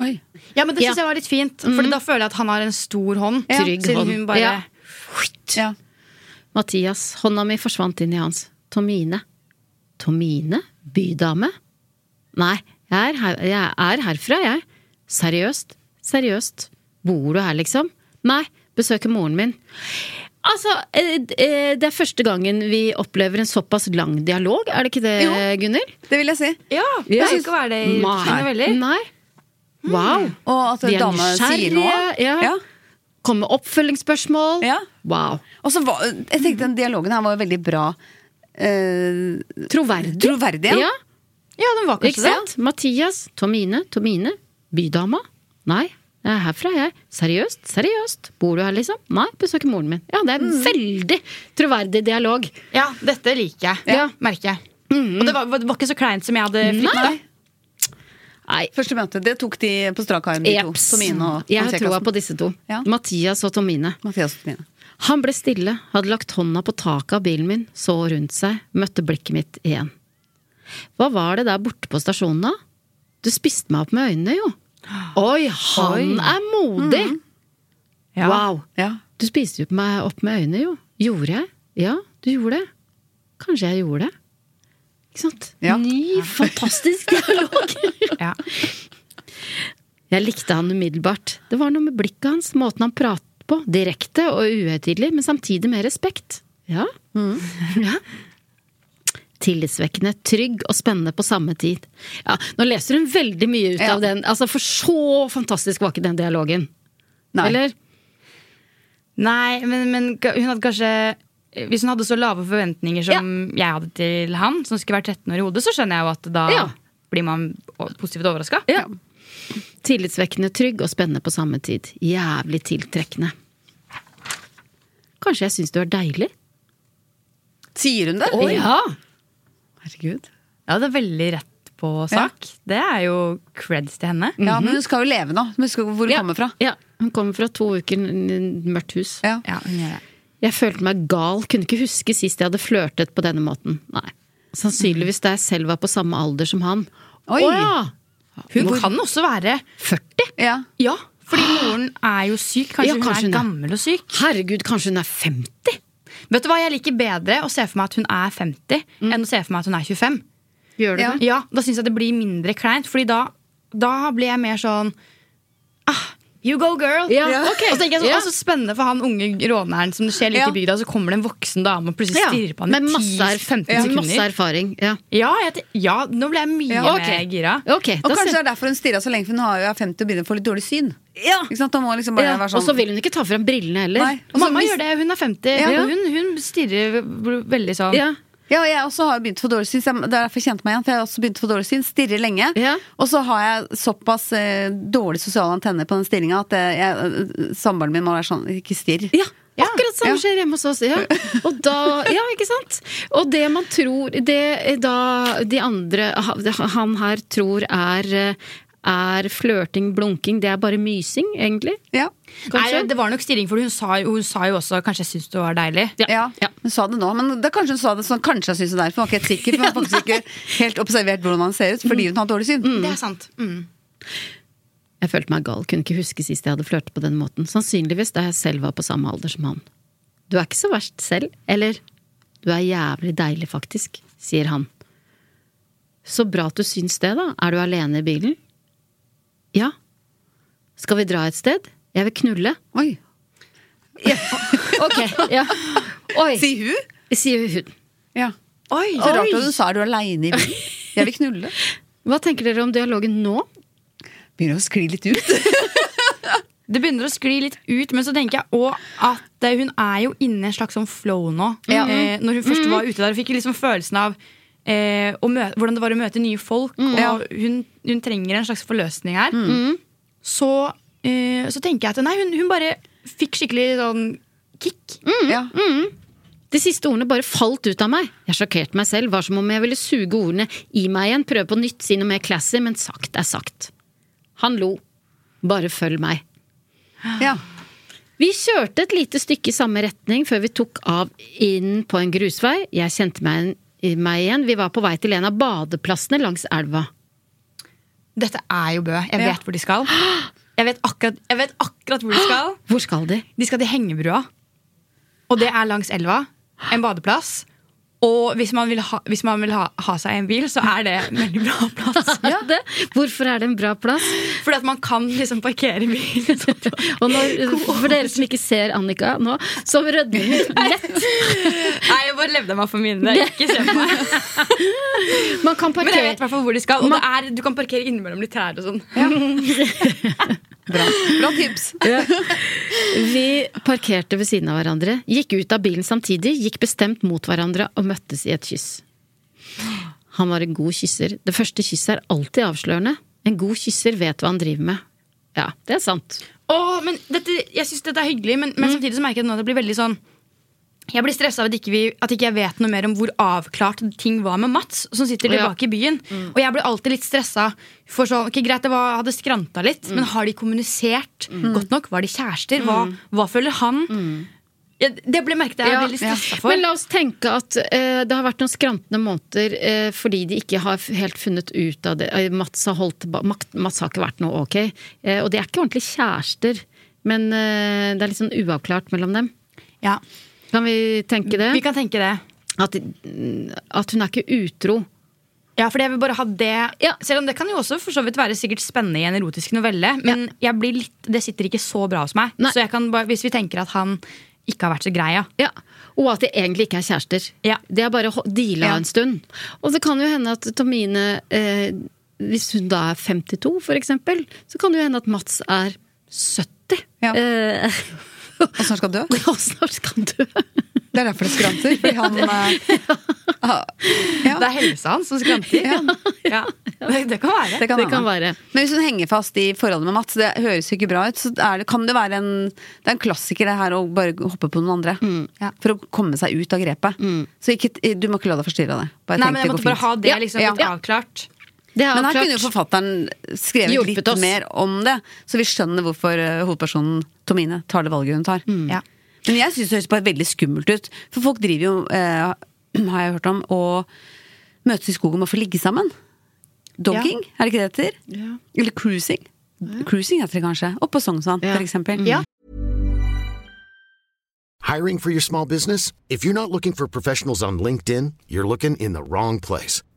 [SPEAKER 1] Oi.
[SPEAKER 5] Ja, men det syns
[SPEAKER 2] Ja. Mm.
[SPEAKER 5] jeg var litt fint. For da føler jeg at han har en stor hånd.
[SPEAKER 1] Ja.
[SPEAKER 2] Trygg
[SPEAKER 5] Siden
[SPEAKER 2] hånd.
[SPEAKER 5] hun bare
[SPEAKER 2] Ja.
[SPEAKER 1] Ja.
[SPEAKER 2] Mathias, hånda mi forsvant inn i hans. Tomine. Tomine? Bydame? Nei, jeg er, her, jeg er herfra, jeg. Seriøst? Seriøst. Bor du her, liksom? Nei, besøker moren min. Altså, eh, eh, det er første gangen vi opplever en såpass lang dialog, er det ikke det,
[SPEAKER 1] Jo. Eh,
[SPEAKER 2] Gunnhild?
[SPEAKER 1] Det vil jeg si.
[SPEAKER 5] Ja, det
[SPEAKER 2] Ja. Mm.
[SPEAKER 5] skal ikke være det i russiske noveller.
[SPEAKER 2] Nei. Wow.
[SPEAKER 1] Hmm. Og at
[SPEAKER 2] De er
[SPEAKER 1] dama sier noe.
[SPEAKER 2] nysgjerrige. Ja.
[SPEAKER 1] Ja.
[SPEAKER 2] Kommer oppfølgingsspørsmål.
[SPEAKER 1] Ja.
[SPEAKER 2] Wow.
[SPEAKER 1] Og så var, jeg tenkte den dialogen her var veldig bra. Eh,
[SPEAKER 2] Troverdig.
[SPEAKER 1] Troverdig, ja.
[SPEAKER 2] ja.
[SPEAKER 5] Ja, den var
[SPEAKER 2] Ikke
[SPEAKER 5] kanskje det.
[SPEAKER 2] sant? Mathias, Tomine, Tomine, bydama. Nei, jeg er herfra, jeg. Seriøst, seriøst. Bor du her, liksom? Nei, besøker moren min. Ja, det er
[SPEAKER 1] Mm.
[SPEAKER 2] en veldig troverdig dialog.
[SPEAKER 5] Ja, dette liker jeg.
[SPEAKER 2] Ja. Mm-hmm.
[SPEAKER 5] Merker jeg. Og det var, det var ikke så kleint som jeg hadde frykta.
[SPEAKER 2] Nei. Nei.
[SPEAKER 1] første møte, det tok de på strak arm, de to.
[SPEAKER 2] Eps.
[SPEAKER 1] Tomine og
[SPEAKER 2] Jeg har
[SPEAKER 1] Mathias
[SPEAKER 2] troa
[SPEAKER 1] Klassen.
[SPEAKER 2] på disse to.
[SPEAKER 1] Ja.
[SPEAKER 2] Mathias og Tomine.
[SPEAKER 1] Mathias og Tomine.
[SPEAKER 2] Han ble stille, hadde lagt hånda på taket av bilen min, så rundt seg, møtte blikket mitt igjen. Hva var det der borte på stasjonen, da? Du spiste meg opp med øynene, jo.
[SPEAKER 1] *gasps*
[SPEAKER 2] Oi, han er modig!
[SPEAKER 5] Ja.
[SPEAKER 2] Wow!
[SPEAKER 1] Mm. Ja.
[SPEAKER 2] Du spiste jo på meg opp med øynene, jo. Gjorde jeg? Ja, du gjorde det. Kanskje jeg gjorde det. Ikke sant?
[SPEAKER 1] Ja.
[SPEAKER 2] Ny, fantastisk dialog! *laughs*
[SPEAKER 5] Ja.
[SPEAKER 2] Jeg likte han umiddelbart. Det var noe med blikket hans, måten han pratet på. Direkte og uhøytidelig, men samtidig med respekt. Ja.
[SPEAKER 1] Mm.
[SPEAKER 2] *laughs* ja. Tillitsvekkende, trygg og spennende på samme tid. Ja, nå leser hun veldig mye ut
[SPEAKER 1] Ja.
[SPEAKER 2] av den. Altså, For så fantastisk var ikke den dialogen.
[SPEAKER 1] Nei.
[SPEAKER 2] Eller?
[SPEAKER 5] Nei, men, men ga- hun hadde kanskje Hvis hun hadde så lave forventninger som jeg hadde til han, som skulle være 13 år i hodet, så skjønner jeg jo at da
[SPEAKER 2] Ja.
[SPEAKER 5] blir man positivt overraska.
[SPEAKER 2] Ja. Tillitsvekkende, trygg og spennende på samme tid. Jævlig tiltrekkende. Kanskje jeg syns du er deilig?
[SPEAKER 1] Sier hun det?
[SPEAKER 2] ja!
[SPEAKER 1] Herregud.
[SPEAKER 5] Ja, det er veldig rett på sak. Det er jo creds til henne.
[SPEAKER 2] Mm.
[SPEAKER 1] Ja, men hun skal jo leve nå. Hun husker hvor hun kommer fra.
[SPEAKER 2] Mhm. Ja, Hun kommer fra to uker n- n- mørkt hus.
[SPEAKER 1] Ja.
[SPEAKER 5] Ja, hun gjør det.
[SPEAKER 2] Jeg følte meg gal, kunne ikke huske sist jeg hadde flørtet på denne måten. Nei. Sannsynligvis da jeg selv var på samme alder som han.
[SPEAKER 1] Oi.
[SPEAKER 2] Å ja!
[SPEAKER 5] Hun kan også være
[SPEAKER 2] 40?
[SPEAKER 1] Ja.
[SPEAKER 5] Ja, fordi moren er jo syk. Kanskje,
[SPEAKER 2] Ja, kanskje hun
[SPEAKER 5] hun er
[SPEAKER 2] er.
[SPEAKER 5] gammel og syk.
[SPEAKER 2] Herregud, kanskje hun er 50?
[SPEAKER 5] Vet du hva, Jeg liker bedre å se for meg at hun er 50,
[SPEAKER 2] Mm.
[SPEAKER 5] enn å se for meg at hun er 25.
[SPEAKER 2] Gjør du
[SPEAKER 1] Ja.
[SPEAKER 2] det?
[SPEAKER 5] Ja, Da syns jeg det blir mindre kleint, Fordi da, da blir jeg mer sånn ah, You go, girl!
[SPEAKER 2] Ja, Ja. ok.
[SPEAKER 5] Og så tenker jeg sånn,
[SPEAKER 2] Ja.
[SPEAKER 5] «Å, så Spennende for han unge råneren som det skjer like
[SPEAKER 1] Ja.
[SPEAKER 5] i bygda. Så kommer det en voksen dame og plutselig stirrer på han
[SPEAKER 2] Med
[SPEAKER 5] i
[SPEAKER 2] masse, erf-
[SPEAKER 5] 10-15
[SPEAKER 2] ja,
[SPEAKER 5] sekunder.
[SPEAKER 2] masse erfaring. Ja.
[SPEAKER 5] ja, jeg, te- ja, nå ble jeg mye
[SPEAKER 1] Ja,
[SPEAKER 2] ok.
[SPEAKER 5] mer gira.
[SPEAKER 2] Ok,
[SPEAKER 1] Og
[SPEAKER 2] da
[SPEAKER 1] kanskje det
[SPEAKER 2] ser-
[SPEAKER 1] er derfor hun stirra så lenge, for hun har jo er 50 og begynner å få litt dårlig syn.
[SPEAKER 2] Ja.
[SPEAKER 1] Ikke sant? Da må hun liksom bare
[SPEAKER 2] Ja,
[SPEAKER 1] være
[SPEAKER 2] Og så
[SPEAKER 1] sånn
[SPEAKER 2] vil hun ikke ta frem brillene heller.
[SPEAKER 1] Nei. Og så
[SPEAKER 5] Mamma
[SPEAKER 1] mis-
[SPEAKER 5] gjør det, hun er 50.
[SPEAKER 1] Ja.
[SPEAKER 5] og Hun, hun stirrer v- veldig sånn.
[SPEAKER 2] Ja.
[SPEAKER 1] Ja, og jeg også har begynt å få dårlig syn. så jeg- Det er derfor jeg kjente meg igjen. For jeg har også begynt å få dårlig syn. Stirrer lenge.
[SPEAKER 2] Ja.
[SPEAKER 1] Og så har jeg såpass eh, dårlig sosiale antenner på den stillinga at eh, jeg- eh, samboeren min må være sånn Ikke stirr.
[SPEAKER 2] Ja,
[SPEAKER 5] Ja.
[SPEAKER 2] akkurat samme
[SPEAKER 1] Ja.
[SPEAKER 2] skjer hjemme hos oss. Ja.
[SPEAKER 1] *laughs*
[SPEAKER 2] Og da, ja, ikke sant? Og det man tror Det da de andre han her tror er eh, er flørting, blunking, det er bare mysing, egentlig?
[SPEAKER 1] Ja.
[SPEAKER 2] Kanskje?
[SPEAKER 5] Nei, det var nok stirring, for hun sa, jo- hun sa jo også 'kanskje jeg syns du var deilig'.
[SPEAKER 1] Ja.
[SPEAKER 2] Ja.
[SPEAKER 1] Hun sa det nå, men da kanskje hun sa det sånn Kanskje jeg syns det er derfor. Hun var ikke helt sikker, for hun *laughs* har faktisk ikke helt observert hvordan han ser ut fordi hun har dårlig syn.
[SPEAKER 5] Det er sant. Mm.
[SPEAKER 2] Jeg følte meg gal, kunne ikke huske sist jeg hadde flørtet på den måten. Sannsynligvis da jeg selv var på samme alder som han. Du er ikke så verst selv, eller? Du er jævlig deilig, faktisk, sier han. Så bra at du syns det, da. Er du alene i bilen? Ja. Skal vi dra et sted? Jeg vil knulle.
[SPEAKER 1] Oi.
[SPEAKER 2] Ok, ja. Oi,
[SPEAKER 1] Si hun?
[SPEAKER 2] sier hun.
[SPEAKER 1] Ja.
[SPEAKER 5] Oi!
[SPEAKER 1] Så rart at hun sa er du aleine i bilen. Jeg vil knulle.
[SPEAKER 2] Hva tenker dere om dialogen nå?
[SPEAKER 1] Begynner å skli litt ut.
[SPEAKER 5] Det begynner å skli litt ut, men så tenker jeg òg at eh, hun er jo inne i en slags sånn flow nå. Eh, når hun
[SPEAKER 1] Mm.
[SPEAKER 5] først var ute der, og fikk liksom følelsen av eh, å møte, hvordan det var å møte nye folk.
[SPEAKER 1] Mm.
[SPEAKER 5] Og hun, hun trenger en slags forløsning her. Så, eh, så tenker jeg at nei, hun, hun bare fikk skikkelig sånn kick.
[SPEAKER 1] Ja.
[SPEAKER 2] De siste ordene bare falt ut av meg. Jeg sjokkerte meg selv, var som om jeg ville suge ordene i meg igjen, prøve på nytt, si noe mer classy, men sagt er sagt. Han lo. Bare følg meg.
[SPEAKER 1] ja.
[SPEAKER 2] Vi kjørte et lite stykke i samme retning før vi tok av inn på en grusvei. Jeg kjente meg, meg igjen. Vi var på vei til en av badeplassene langs elva.
[SPEAKER 5] Dette er jo Bø. Jeg vet
[SPEAKER 1] Ja.
[SPEAKER 5] hvor de skal. *gasps* Jeg vet, akkurat, jeg vet akkurat *gasps* hvor de skal.
[SPEAKER 2] Hvor skal
[SPEAKER 5] *laughs*
[SPEAKER 2] de?
[SPEAKER 5] De skal til Hengebrua. Og det er langs elva. En badeplass. Og hvis man vil ha, hvis man vil ha, ha seg en bil, så er det en veldig bra *laughs* plass.
[SPEAKER 2] Det. Hvorfor er det en bra plass?
[SPEAKER 5] Fordi at man kan liksom parkere bilen.
[SPEAKER 2] Og når,
[SPEAKER 5] *laughs*
[SPEAKER 2] for dere som ikke ser Annika nå, så rødmer hun lett.
[SPEAKER 5] Nei, jeg bare levde meg for mine. Ikke se på *laughs* meg.
[SPEAKER 2] Man kan
[SPEAKER 5] Men jeg
[SPEAKER 2] parkere
[SPEAKER 5] vet i hvert fall hvor de skal. Og det er, du kan parkere innimellom litt trær og sånn.
[SPEAKER 1] Bra. Bra tips.
[SPEAKER 2] Vi parkerte ved siden av hverandre, gikk ut av bilen samtidig, gikk bestemt mot hverandre og møttes i et kyss. Han var en god kysser. Det første kysset er alltid avslørende. En god kysser vet hva han driver med. Ja, det er sant.
[SPEAKER 5] Åh, men dette, jeg synes dette er hyggelig, men,
[SPEAKER 2] Mm.
[SPEAKER 5] men samtidig så merker jeg nå at det blir veldig sånn jeg blir stressa av at ikke, vi, at ikke jeg vet noe mer om hvor avklart ting var med Mats. som sitter
[SPEAKER 2] Ja. Mm.
[SPEAKER 5] tilbake i byen. Og jeg blir alltid litt stressa. For sånn, ok, greit, det var, hadde skranta litt,
[SPEAKER 2] Mm.
[SPEAKER 5] men har de kommunisert godt nok? Var de kjærester? Hva, hva føler han? Jeg, det ble merket jeg
[SPEAKER 2] Mm. Ja.
[SPEAKER 5] veldig stressa for.
[SPEAKER 2] Men la oss tenke at eh, det har vært noen skrantende måneder eh, fordi de ikke har f- helt funnet ut av det. Eh, Mats har, holdt, tilba- Mak- Mats har ikke vært noe ok. Eh, og de er ikke ordentlig kjærester, men eh, det er litt sånn uavklart mellom dem.
[SPEAKER 5] ja,
[SPEAKER 2] Kan vi tenke det?
[SPEAKER 5] vi kan tenke det.
[SPEAKER 2] At, at hun er ikke utro.
[SPEAKER 5] Ja, for jeg vil bare ha det
[SPEAKER 2] Ja.
[SPEAKER 5] Selv om det kan jo også for så vidt være sikkert spennende i en erotisk novelle, men jeg blir litt, det sitter ikke så bra hos meg.
[SPEAKER 2] Nei.
[SPEAKER 5] Så jeg kan bare, hvis vi tenker at han ikke har vært så grei, ja.
[SPEAKER 2] Ja. Og at de egentlig ikke er kjærester.
[SPEAKER 5] Ja.
[SPEAKER 2] De har bare ho- deala
[SPEAKER 1] Ja.
[SPEAKER 2] en stund. Og det kan jo hende at Tomine, eh, hvis hun da er 52 for eksempel, så kan det jo hende at Mats er 70.
[SPEAKER 1] Ja.
[SPEAKER 2] Eh, *laughs*
[SPEAKER 1] Og snart skal dø. *laughs*
[SPEAKER 2] og snart skal han dø.
[SPEAKER 1] Det er derfor det skranter. Fordi
[SPEAKER 5] *laughs*
[SPEAKER 1] han eh, ah, ja.
[SPEAKER 5] Det er helsa hans som
[SPEAKER 1] *laughs*
[SPEAKER 5] skranter. Ja. Det, det kan være.
[SPEAKER 1] Det kan,
[SPEAKER 2] Det kan
[SPEAKER 1] hende.
[SPEAKER 2] være.
[SPEAKER 1] Men hvis hun henger fast i forholdet med Mats, det høres jo ikke bra ut, så er det, kan det være en Det er en klassiker det her å bare hoppe på noen andre.
[SPEAKER 5] Mm, Ja. Mm.
[SPEAKER 1] For å komme seg ut av grepet. Så ikke, du må ikke la deg forstyrre av det. Bare
[SPEAKER 5] Nei,
[SPEAKER 1] tenk
[SPEAKER 5] men jeg
[SPEAKER 1] det
[SPEAKER 5] måtte
[SPEAKER 1] går
[SPEAKER 5] bare ha
[SPEAKER 1] fint.
[SPEAKER 5] det
[SPEAKER 1] Ja,
[SPEAKER 5] liksom
[SPEAKER 1] ja.
[SPEAKER 5] litt avklart.
[SPEAKER 2] Det er
[SPEAKER 1] Men her kunne jo
[SPEAKER 2] avklart.
[SPEAKER 1] forfatteren skrevet
[SPEAKER 2] Hjulpet
[SPEAKER 1] litt
[SPEAKER 2] oss.
[SPEAKER 1] mer om det, så vi skjønner hvorfor eh, hovedpersonen Tomine tar det valget hun tar.
[SPEAKER 5] Ja.
[SPEAKER 1] Men jeg syns det høres bare veldig skummelt ut. For folk driver jo, eh, *clears throat* har jeg hørt om, og møtes i skogen med å få ligge sammen. Dogging, er det ikke det det heter? Eller cruising. Cruising heter det kanskje. Oppe på Sognsvann,
[SPEAKER 2] Ja.
[SPEAKER 1] for eksempel.
[SPEAKER 5] Ja.
[SPEAKER 3] Hiring for your small business? If you're not looking for professionals on LinkedIn, you're looking in the wrong place.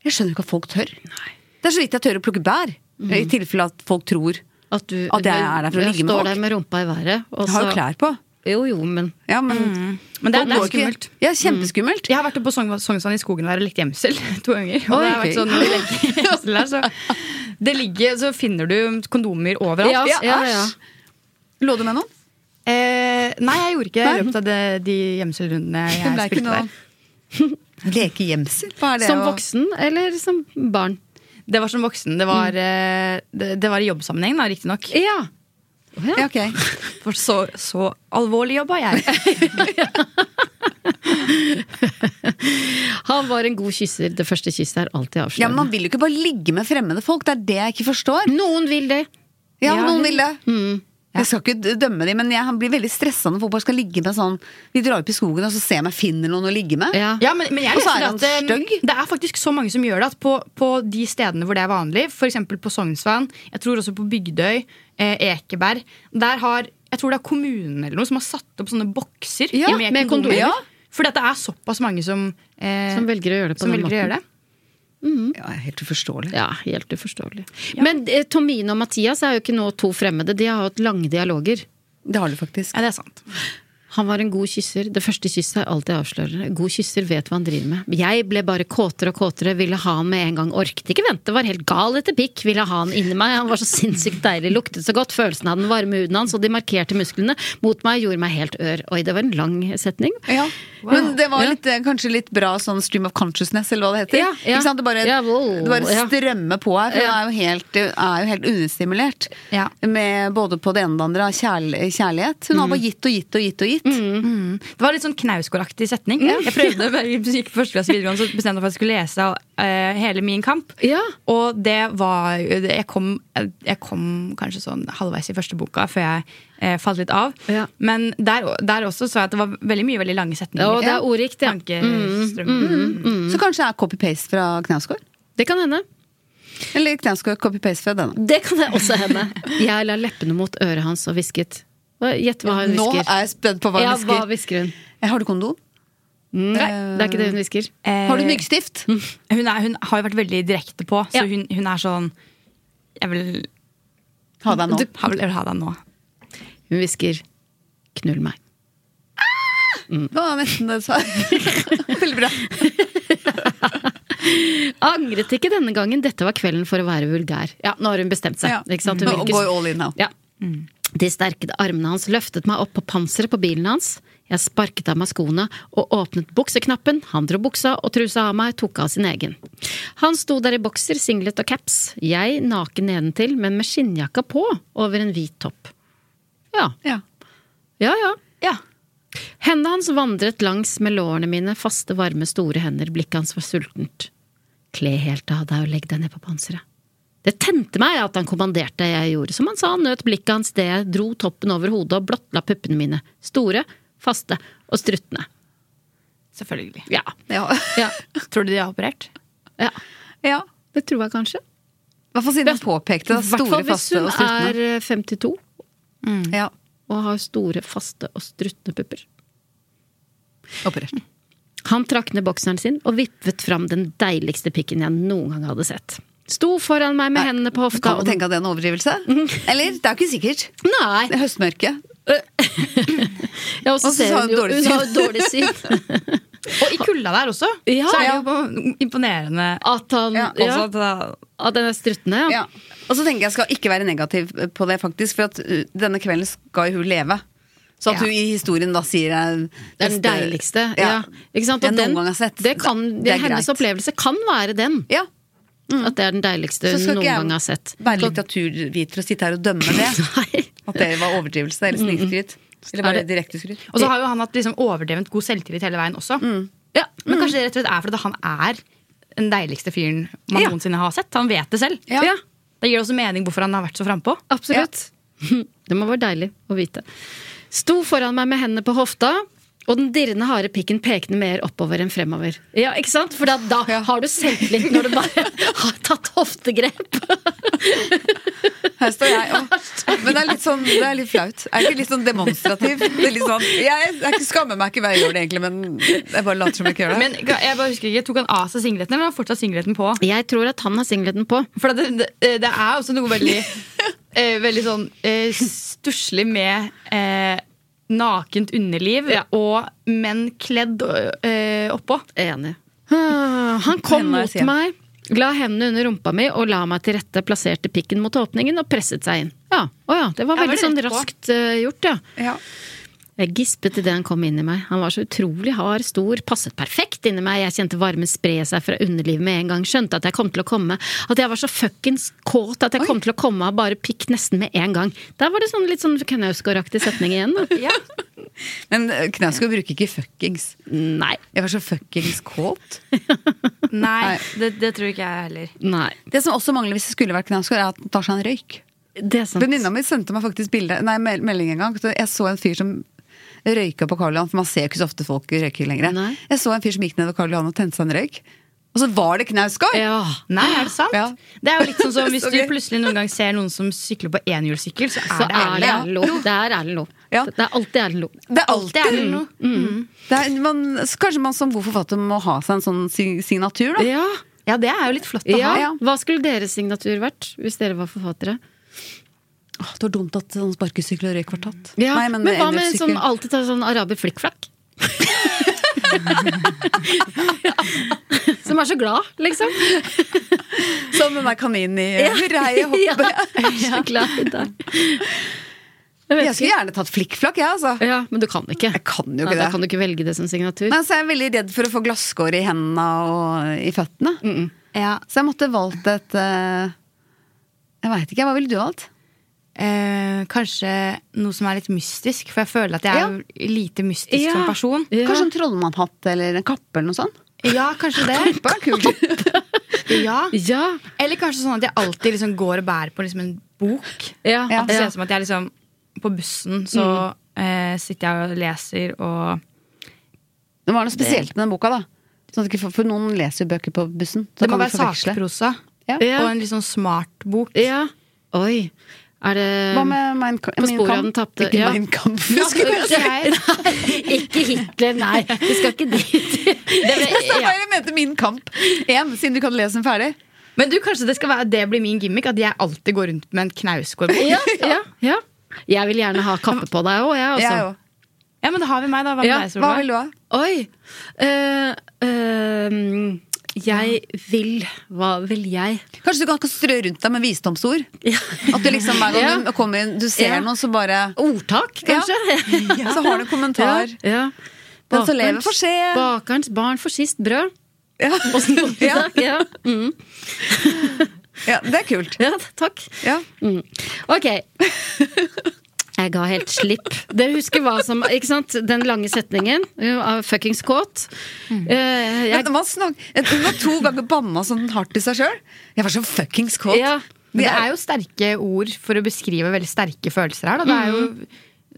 [SPEAKER 1] Jeg skjønner ikke at folk tør. Det er så vidt jeg tør å plukke bær. I tilfelle at folk tror Jeg
[SPEAKER 2] At du
[SPEAKER 1] At jeg er der for å ligge med
[SPEAKER 2] står
[SPEAKER 1] folk.
[SPEAKER 2] der med rumpa i været. og
[SPEAKER 1] har
[SPEAKER 2] så-
[SPEAKER 1] jo klær på.
[SPEAKER 2] Jo, jo, men
[SPEAKER 1] Ja, men
[SPEAKER 5] Men det, er- det
[SPEAKER 1] Folk går
[SPEAKER 5] er
[SPEAKER 1] ikke-
[SPEAKER 5] skummelt. Mm.
[SPEAKER 1] Ja, kjempeskummelt.
[SPEAKER 5] Jeg har vært på Sogn- Sognsvann sånn i skogen der og lekt gjemsel *laughs* to ganger. Og
[SPEAKER 1] Oi,
[SPEAKER 5] det har vært
[SPEAKER 1] ok. *laughs*
[SPEAKER 5] sånn, når vi legger gjemsel der, så, det ligger, så finner du kondomer overalt.
[SPEAKER 2] Ja, ja, ja.
[SPEAKER 5] æsj.
[SPEAKER 1] Lå du med noen?
[SPEAKER 5] Eh, nei, jeg gjorde ikke det i
[SPEAKER 1] Nei.
[SPEAKER 5] løpet av det, de gjemselrundene jeg
[SPEAKER 1] ble ikke
[SPEAKER 5] spilte
[SPEAKER 1] noe-
[SPEAKER 5] der.
[SPEAKER 1] *laughs* Lekegjemsel? Hva er det?
[SPEAKER 2] som
[SPEAKER 1] å-
[SPEAKER 2] voksen eller som barn?
[SPEAKER 5] Det var som voksen. Det var, eh, det, det var i jobbsammenheng, da, riktignok.
[SPEAKER 2] Ja.
[SPEAKER 1] Ja, ok.
[SPEAKER 5] For så, så alvorlig jobba jeg.
[SPEAKER 2] *laughs* Han var en god kysser. Det første kysset er alltid
[SPEAKER 1] ja, men
[SPEAKER 2] avslørende.
[SPEAKER 1] Man vil jo ikke bare ligge med fremmede folk. Det er det jeg ikke forstår.
[SPEAKER 2] Noen vil det.
[SPEAKER 1] Ja,
[SPEAKER 5] Ja.
[SPEAKER 1] noen vil det.
[SPEAKER 2] Mm.
[SPEAKER 1] Jeg skal ikke d- dømme dem, men jeg han blir veldig stressa når folk bare skal ligge med sånn Vi drar opp i skogen, og så ser jeg om jeg finner noen å ligge med.
[SPEAKER 2] Ja.
[SPEAKER 5] *laughs* Ja, men, men jeg
[SPEAKER 1] Og så
[SPEAKER 5] leser
[SPEAKER 1] er han
[SPEAKER 5] at eh,
[SPEAKER 1] stygg.
[SPEAKER 5] det er faktisk så mange som gjør det at på, på de stedene hvor det er vanlig, f.eks. på Sognsvann, jeg tror også på Bygdøy, eh, Ekeberg Der har jeg tror det er kommunen eller noe som har satt opp sånne bokser
[SPEAKER 1] Ja,
[SPEAKER 5] med,
[SPEAKER 2] med
[SPEAKER 5] kondomer.
[SPEAKER 2] kondomer. Ja.
[SPEAKER 5] Fordi at det er såpass mange som, eh,
[SPEAKER 2] Som velger å gjøre det på
[SPEAKER 5] som
[SPEAKER 2] den
[SPEAKER 5] velger
[SPEAKER 2] måten.
[SPEAKER 5] å gjøre det.
[SPEAKER 1] Ja, det er Helt uforståelig.
[SPEAKER 2] Ja, helt uforståelig. Men eh, Tomine og Mathias er jo ikke nå to fremmede. De har hatt lange dialoger.
[SPEAKER 1] Det har du faktisk.
[SPEAKER 5] Ja, det er sant.
[SPEAKER 2] Han var en god kysser. Det første kysset er alltid avslørende. God kysser vet hva han driver med. Jeg ble bare kåtere og kåtere, ville ha han med en gang. Orket ikke vente, var helt gal etter pikk. Ville ha han inni meg. Han var så sinnssykt deilig, luktet så godt. Følelsen av den varme huden hans og de markerte musklene mot meg gjorde meg helt ør. Oi, det var en lang setning.
[SPEAKER 1] Ja. Men det var litt, eh, kanskje litt bra sånn stream of consciousness, eller hva det heter.
[SPEAKER 2] Ja, ja.
[SPEAKER 1] Ikke sant? Det bare,
[SPEAKER 2] Ja, wow,
[SPEAKER 1] det bare
[SPEAKER 2] ja.
[SPEAKER 1] strømmer på her, for
[SPEAKER 2] Ja.
[SPEAKER 1] det er jo helt, det er jo helt understimulert.
[SPEAKER 5] Ja.
[SPEAKER 1] Med både på det ene og det andre av kjærl kjærlighet. Hun
[SPEAKER 2] Mm.
[SPEAKER 1] har bare gitt og gitt og gitt og gitt.
[SPEAKER 5] Det var litt sånn knausgårdaktig setning. Jeg prøvde, jeg gikk første klasse videregående, så bestemte jeg meg for at jeg skulle lese eh, hele Min kamp.
[SPEAKER 2] Ja.
[SPEAKER 5] Og det var jeg kom, jeg kom kanskje sånn halvveis i første boka før jeg eh, falt litt av.
[SPEAKER 2] Ja.
[SPEAKER 5] Men der, der også så jeg at det var veldig mye veldig lange setninger.
[SPEAKER 2] Ja, og det er ordrikt, ja. Mm,
[SPEAKER 5] Tankestrøm.
[SPEAKER 1] Så kanskje det er copy-paste fra Knausgård?
[SPEAKER 2] Det kan hende.
[SPEAKER 1] Eller Knausgård copy-paste fra denne.
[SPEAKER 2] Det kan det også hende. *laughs* Jeg la leppene mot øret hans og hvisket. Hva- Gjett hva hun
[SPEAKER 1] Nå
[SPEAKER 2] hvisker.
[SPEAKER 1] er jeg spent på hva hun
[SPEAKER 2] Ja, hva
[SPEAKER 1] hvisker.
[SPEAKER 2] hvisker hun?
[SPEAKER 1] Har du kondom?
[SPEAKER 2] Nei, det er ikke det hun hvisker.
[SPEAKER 5] Eh,
[SPEAKER 1] Har du myggstift?
[SPEAKER 5] hun, er, hun har jo vært veldig direkte på, så
[SPEAKER 2] Ja.
[SPEAKER 5] hun, hun er sånn Jeg vil,
[SPEAKER 1] Ha deg nå.
[SPEAKER 5] jeg vil ha deg nå.
[SPEAKER 2] Hun hvisker 'knull meg'.
[SPEAKER 1] Det var nesten det du sa. Veldig bra.
[SPEAKER 2] Angret ikke denne gangen. Dette var kvelden for å være vulgær. *laughs* Ja, nå har hun bestemt seg.
[SPEAKER 1] Ja.
[SPEAKER 2] Ikke sant? Hun
[SPEAKER 1] Nå
[SPEAKER 2] vil ikke-
[SPEAKER 1] går jo all in now.
[SPEAKER 2] Ja. Mm. De sterke armene hans løftet meg opp på panseret på bilen hans. Jeg sparket av meg skoene og åpnet bukseknappen. Han dro buksa og trusa av meg, tok av sin egen. Han sto der i bokser, singlet og caps. Jeg naken nedentil, men med skinnjakka på over en hvit topp. Ja.
[SPEAKER 1] Ja.
[SPEAKER 2] Ja ja.
[SPEAKER 5] Ja.
[SPEAKER 2] Hendene hans vandret langs med lårene mine, faste, varme, store hender, blikket hans var sultent. Kle helt av deg og legg deg ned på panseret. Det tente meg at han kommanderte det jeg gjorde, som han sa, han nøt blikket hans det jeg dro toppen over hodet og blottla puppene mine, store, faste og struttende.
[SPEAKER 5] Selvfølgelig.
[SPEAKER 2] Ja.
[SPEAKER 1] Ja.
[SPEAKER 2] ja.
[SPEAKER 5] Tror du de har operert?
[SPEAKER 2] ja.
[SPEAKER 1] ja.
[SPEAKER 2] Det tror jeg kanskje.
[SPEAKER 1] I hvert fall siden hun påpekte det.
[SPEAKER 2] I hvert
[SPEAKER 1] Store,
[SPEAKER 2] fall hvis
[SPEAKER 1] faste
[SPEAKER 2] hun
[SPEAKER 1] og struttende.
[SPEAKER 2] er eh, 52
[SPEAKER 1] Ja.
[SPEAKER 2] og har store, faste og struttende pupper.
[SPEAKER 1] Operert.
[SPEAKER 2] Han trakk ned bokseren sin og vippet fram den deiligste pikken jeg noen gang hadde sett. Sto foran meg med hendene på hofta Mm.
[SPEAKER 1] Kan man tenke at det er en overdrivelse? Eller? Det er jo ikke sikkert. Det
[SPEAKER 2] Nei!
[SPEAKER 1] er høstmørke.
[SPEAKER 2] Ja, og så
[SPEAKER 1] Og så
[SPEAKER 2] ser
[SPEAKER 1] sa
[SPEAKER 2] hun
[SPEAKER 1] hun
[SPEAKER 2] jo
[SPEAKER 1] dårlig
[SPEAKER 2] Hun
[SPEAKER 1] syn.
[SPEAKER 2] har jo dårlig syn.
[SPEAKER 5] Og i kulda der også!
[SPEAKER 2] Ja.
[SPEAKER 5] så er det jo på- imponerende.
[SPEAKER 2] At han
[SPEAKER 1] *laughs* Ja,
[SPEAKER 2] ja,
[SPEAKER 1] også
[SPEAKER 5] at det-
[SPEAKER 2] At den er struttende, ja.
[SPEAKER 1] Ja. Og så tenker jeg jeg skal ikke være negativ på det, faktisk, for at uh, denne kvelden skal jo hun leve. Så at
[SPEAKER 2] Ja.
[SPEAKER 1] hun i historien da sier jeg,
[SPEAKER 2] Det er Den
[SPEAKER 1] neste-
[SPEAKER 2] deiligste. Ja. Ikke sant?
[SPEAKER 1] Jeg
[SPEAKER 2] Og
[SPEAKER 1] noen
[SPEAKER 2] den,
[SPEAKER 1] gang har sett.
[SPEAKER 2] det kan, det,
[SPEAKER 1] Det er
[SPEAKER 2] hennes
[SPEAKER 1] greit.
[SPEAKER 2] opplevelse kan være den.
[SPEAKER 1] Ja.
[SPEAKER 2] At det er den deiligste
[SPEAKER 1] Så
[SPEAKER 2] hun
[SPEAKER 1] skal
[SPEAKER 2] noen
[SPEAKER 1] ikke
[SPEAKER 2] gang har
[SPEAKER 1] jeg
[SPEAKER 2] sett.
[SPEAKER 1] være litteraturvit for å sitte her og dømme det.
[SPEAKER 2] *laughs* Nei.
[SPEAKER 1] At det var overdrivelse eller snikskryt. Eller
[SPEAKER 2] Er
[SPEAKER 1] bare
[SPEAKER 2] det-
[SPEAKER 1] direkte skryt.
[SPEAKER 5] Og så har jo han hatt liksom overdrevent god selvtillit hele veien også.
[SPEAKER 2] Ja.
[SPEAKER 5] Men kanskje det rett og slett er fordi at han er den deiligste fyren man
[SPEAKER 1] Ja.
[SPEAKER 5] noensinne har sett. Han vet det selv.
[SPEAKER 1] Ja.
[SPEAKER 2] ja,
[SPEAKER 5] Da gir det også mening hvorfor han har vært så frampå.
[SPEAKER 2] absolutt. *laughs* Det må være deilig å vite. Sto foran meg med hendene på hofta. Og den dirrende harde pikken pekende mer oppover enn fremover. Ja, ikke sant? For da, da har du selvtillit når du bare *laughs* har tatt hoftegrep.
[SPEAKER 1] Her står jeg. Og, men det er litt sånn, det er litt flaut. Er det ikke litt sånn demonstrativ? Det er litt sånn, jeg, jeg skammer meg ikke hver jeg gjør det, egentlig, men jeg bare later som jeg ikke gjør det.
[SPEAKER 5] Men jeg bare husker ikke, Tok han av seg singleten, eller var fortsatt singleten på?
[SPEAKER 2] Jeg tror at han har singleten på.
[SPEAKER 5] For det, det, eh, det er også noe veldig eh, Veldig sånn eh, stusslig med eh, nakent underliv
[SPEAKER 2] Ja.
[SPEAKER 5] og menn kledd eh, oppå.
[SPEAKER 2] Enig. Ah, Han kom
[SPEAKER 1] Hendene er
[SPEAKER 2] mot
[SPEAKER 1] sen.
[SPEAKER 2] meg, la hendene under rumpa mi og la meg til rette, plasserte pikken mot åpningen og presset seg inn. Ja, å ja Det var
[SPEAKER 5] Ja, var
[SPEAKER 2] veldig
[SPEAKER 5] det
[SPEAKER 2] sånn
[SPEAKER 5] rett på?
[SPEAKER 2] raskt eh, gjort, ja.
[SPEAKER 1] Ja.
[SPEAKER 2] Jeg gispet idet han kom inn i meg. Han var så utrolig hard, stor, passet perfekt inni meg. Jeg kjente varmen spre seg fra underlivet med en gang. Skjønte at jeg kom til å komme. At jeg var så fuckings kåt at jeg kom til å komme av bare pikk nesten med en gang. Der var det sånn litt sånn Knausgård-aktig setning igjen. da.
[SPEAKER 1] Men eh, Knausgård bruker ikke fuckings.
[SPEAKER 2] Nei.
[SPEAKER 1] Jeg var så fuckings kåt.
[SPEAKER 5] Nei, det, det tror ikke jeg heller.
[SPEAKER 2] Nei.
[SPEAKER 1] Det som også mangler hvis det skulle vært Knausgård, er at han tar seg en røyk.
[SPEAKER 2] Det er sant.
[SPEAKER 1] Venninna mi sendte meg faktisk bilde, nei, mel- melding en gang. Så Jeg så en fyr som røyka på Karl Johan, for man ser jo ikke så ofte folk røyker lenger.
[SPEAKER 2] Nei.
[SPEAKER 1] Jeg så en fyr som gikk ned ved Karl Johan og tente seg en røyk. Og så var det Knausgård!
[SPEAKER 2] Ja.
[SPEAKER 5] Nei, er det sant?
[SPEAKER 1] Ja.
[SPEAKER 5] Det er jo litt sånn *laughs* som Hvis
[SPEAKER 1] Så
[SPEAKER 5] du
[SPEAKER 1] gøy.
[SPEAKER 5] plutselig noen gang ser noen som sykler på enhjulssykkel, så
[SPEAKER 2] Så
[SPEAKER 5] er
[SPEAKER 2] er
[SPEAKER 5] det ærlig.
[SPEAKER 2] det
[SPEAKER 5] Ja.
[SPEAKER 2] Erlend Lo. Det er Erlend Lo.
[SPEAKER 1] Ja.
[SPEAKER 2] Det er alltid Erlend Lo. Mm.
[SPEAKER 1] Det er alltid
[SPEAKER 5] er det noe.
[SPEAKER 1] det er, man, så Kanskje man som god forfatter må ha seg en sånn si- signatur, da.
[SPEAKER 2] Ja.
[SPEAKER 5] Ja, det er jo litt flott å
[SPEAKER 2] ja.
[SPEAKER 5] ha.
[SPEAKER 1] ja.
[SPEAKER 2] Hva skulle deres signatur vært hvis dere var forfattere?
[SPEAKER 1] Åh, det var dumt at sånn sparkesykkel og røyk var tatt.
[SPEAKER 2] Ja,
[SPEAKER 1] Nei,
[SPEAKER 2] men,
[SPEAKER 1] men,
[SPEAKER 2] hva med en som
[SPEAKER 1] enhjulssykkel-
[SPEAKER 2] alltid tar sånn araber flikkflakk? som er så glad, liksom.
[SPEAKER 1] Som den der kaninen i *laughs* Hurra, jeg
[SPEAKER 2] *laughs*
[SPEAKER 1] hopper.
[SPEAKER 2] så glad i deg. Jeg
[SPEAKER 1] Jeg
[SPEAKER 2] vet
[SPEAKER 1] skulle
[SPEAKER 2] ikke.
[SPEAKER 1] gjerne tatt flikkflakk, jeg, altså.
[SPEAKER 2] Ja, men du kan ikke.
[SPEAKER 1] Jeg kan jo
[SPEAKER 2] Nei,
[SPEAKER 1] ikke
[SPEAKER 2] da
[SPEAKER 1] det.
[SPEAKER 2] kan du ikke velge det som signatur.
[SPEAKER 1] Nei, så altså, jeg er veldig redd for å få glasskår i hendene og i føttene.
[SPEAKER 5] Ja.
[SPEAKER 1] Så jeg måtte valgt et eh, Jeg veit ikke, hva ville du valgt?
[SPEAKER 5] Eh, kanskje noe som er litt mystisk, for jeg føler at jeg er jo lite mystisk
[SPEAKER 2] Ja.
[SPEAKER 5] som person.
[SPEAKER 2] Ja.
[SPEAKER 1] Kanskje en trollmannhatt eller en kappe eller noe sånt?
[SPEAKER 5] Ja, kanskje *laughs* det.
[SPEAKER 1] Bare kult.
[SPEAKER 5] *laughs* Ja.
[SPEAKER 2] Ja.
[SPEAKER 5] Eller kanskje sånn at jeg alltid liksom går og bærer på liksom en bok.
[SPEAKER 2] Ja.
[SPEAKER 1] Ja.
[SPEAKER 5] At det ser ut som at jeg liksom På bussen så eh, sitter jeg og leser og
[SPEAKER 1] Det var noe spesielt med den boka, da. Sånn at ikke, for- for noen leser jo bøker på bussen. Så
[SPEAKER 5] Det
[SPEAKER 1] da
[SPEAKER 5] må
[SPEAKER 1] kan
[SPEAKER 5] være
[SPEAKER 1] du forveksle.
[SPEAKER 5] sakprosa.
[SPEAKER 1] Ja.
[SPEAKER 2] Ja.
[SPEAKER 5] Og en litt sånn smart bok.
[SPEAKER 2] ja. Oi. Er det
[SPEAKER 1] Hva med Mein Ka-
[SPEAKER 2] På
[SPEAKER 1] Mein
[SPEAKER 2] sporet av
[SPEAKER 1] Kampf?
[SPEAKER 2] den tapte-
[SPEAKER 1] Ikke
[SPEAKER 2] ja.
[SPEAKER 1] Mein Kampf.
[SPEAKER 5] Altså,
[SPEAKER 1] *laughs*
[SPEAKER 5] jeg,
[SPEAKER 2] Ikke Hitler, nei. Vi skal ikke
[SPEAKER 1] *laughs*
[SPEAKER 2] dit.
[SPEAKER 5] det ble,
[SPEAKER 1] Så
[SPEAKER 5] ja.
[SPEAKER 1] bare mente Min Kamp én, siden du kan lese den ferdig.
[SPEAKER 5] Men du, kanskje det skal være det blir min gimmick at jeg alltid går rundt med en knausgårdbok?
[SPEAKER 2] Ja, ja, ja. Jeg vil gjerne ha kappe på deg òg, jeg
[SPEAKER 1] Jeg
[SPEAKER 2] også.
[SPEAKER 1] òg.
[SPEAKER 5] Ja, men da har vi meg, da. Hva med
[SPEAKER 2] Ja,
[SPEAKER 5] deg,
[SPEAKER 1] Hva
[SPEAKER 5] Solveig?
[SPEAKER 1] vil du ha?
[SPEAKER 2] Oi. Eh, ehm, jeg vil Hva vil jeg?
[SPEAKER 1] Kanskje du kan strø rundt deg med visdomsord? At du liksom hver gang du kommer inn, du ser
[SPEAKER 2] Ja.
[SPEAKER 1] noen, så bare
[SPEAKER 2] Ordtak, kanskje? *laughs*
[SPEAKER 1] Ja. Så har du en kommentar.
[SPEAKER 2] Ja. ja.
[SPEAKER 1] Den som lever,
[SPEAKER 2] Bakerens-
[SPEAKER 1] får se.
[SPEAKER 2] Bakerens barn får sist brød.
[SPEAKER 1] Ja.
[SPEAKER 2] Og så-
[SPEAKER 1] *laughs* Ja.
[SPEAKER 2] *laughs* ja. Mm.
[SPEAKER 1] Ja, det er kult.
[SPEAKER 2] ja, takk.
[SPEAKER 1] Ja.
[SPEAKER 2] Mm. Ok. Jeg ga helt slipp. Dere husker hva som Ikke sant? Den lange setningen uh, av fuckings kåt.
[SPEAKER 1] Mm.
[SPEAKER 2] Eh, jeg-
[SPEAKER 1] Men man snak, hun har to ganger banna sånn hardt til seg sjøl. Jeg var så fuckings kåt.
[SPEAKER 2] Ja.
[SPEAKER 5] Men det er jo sterke ord for å beskrive veldig sterke følelser her. Da. Det er jo,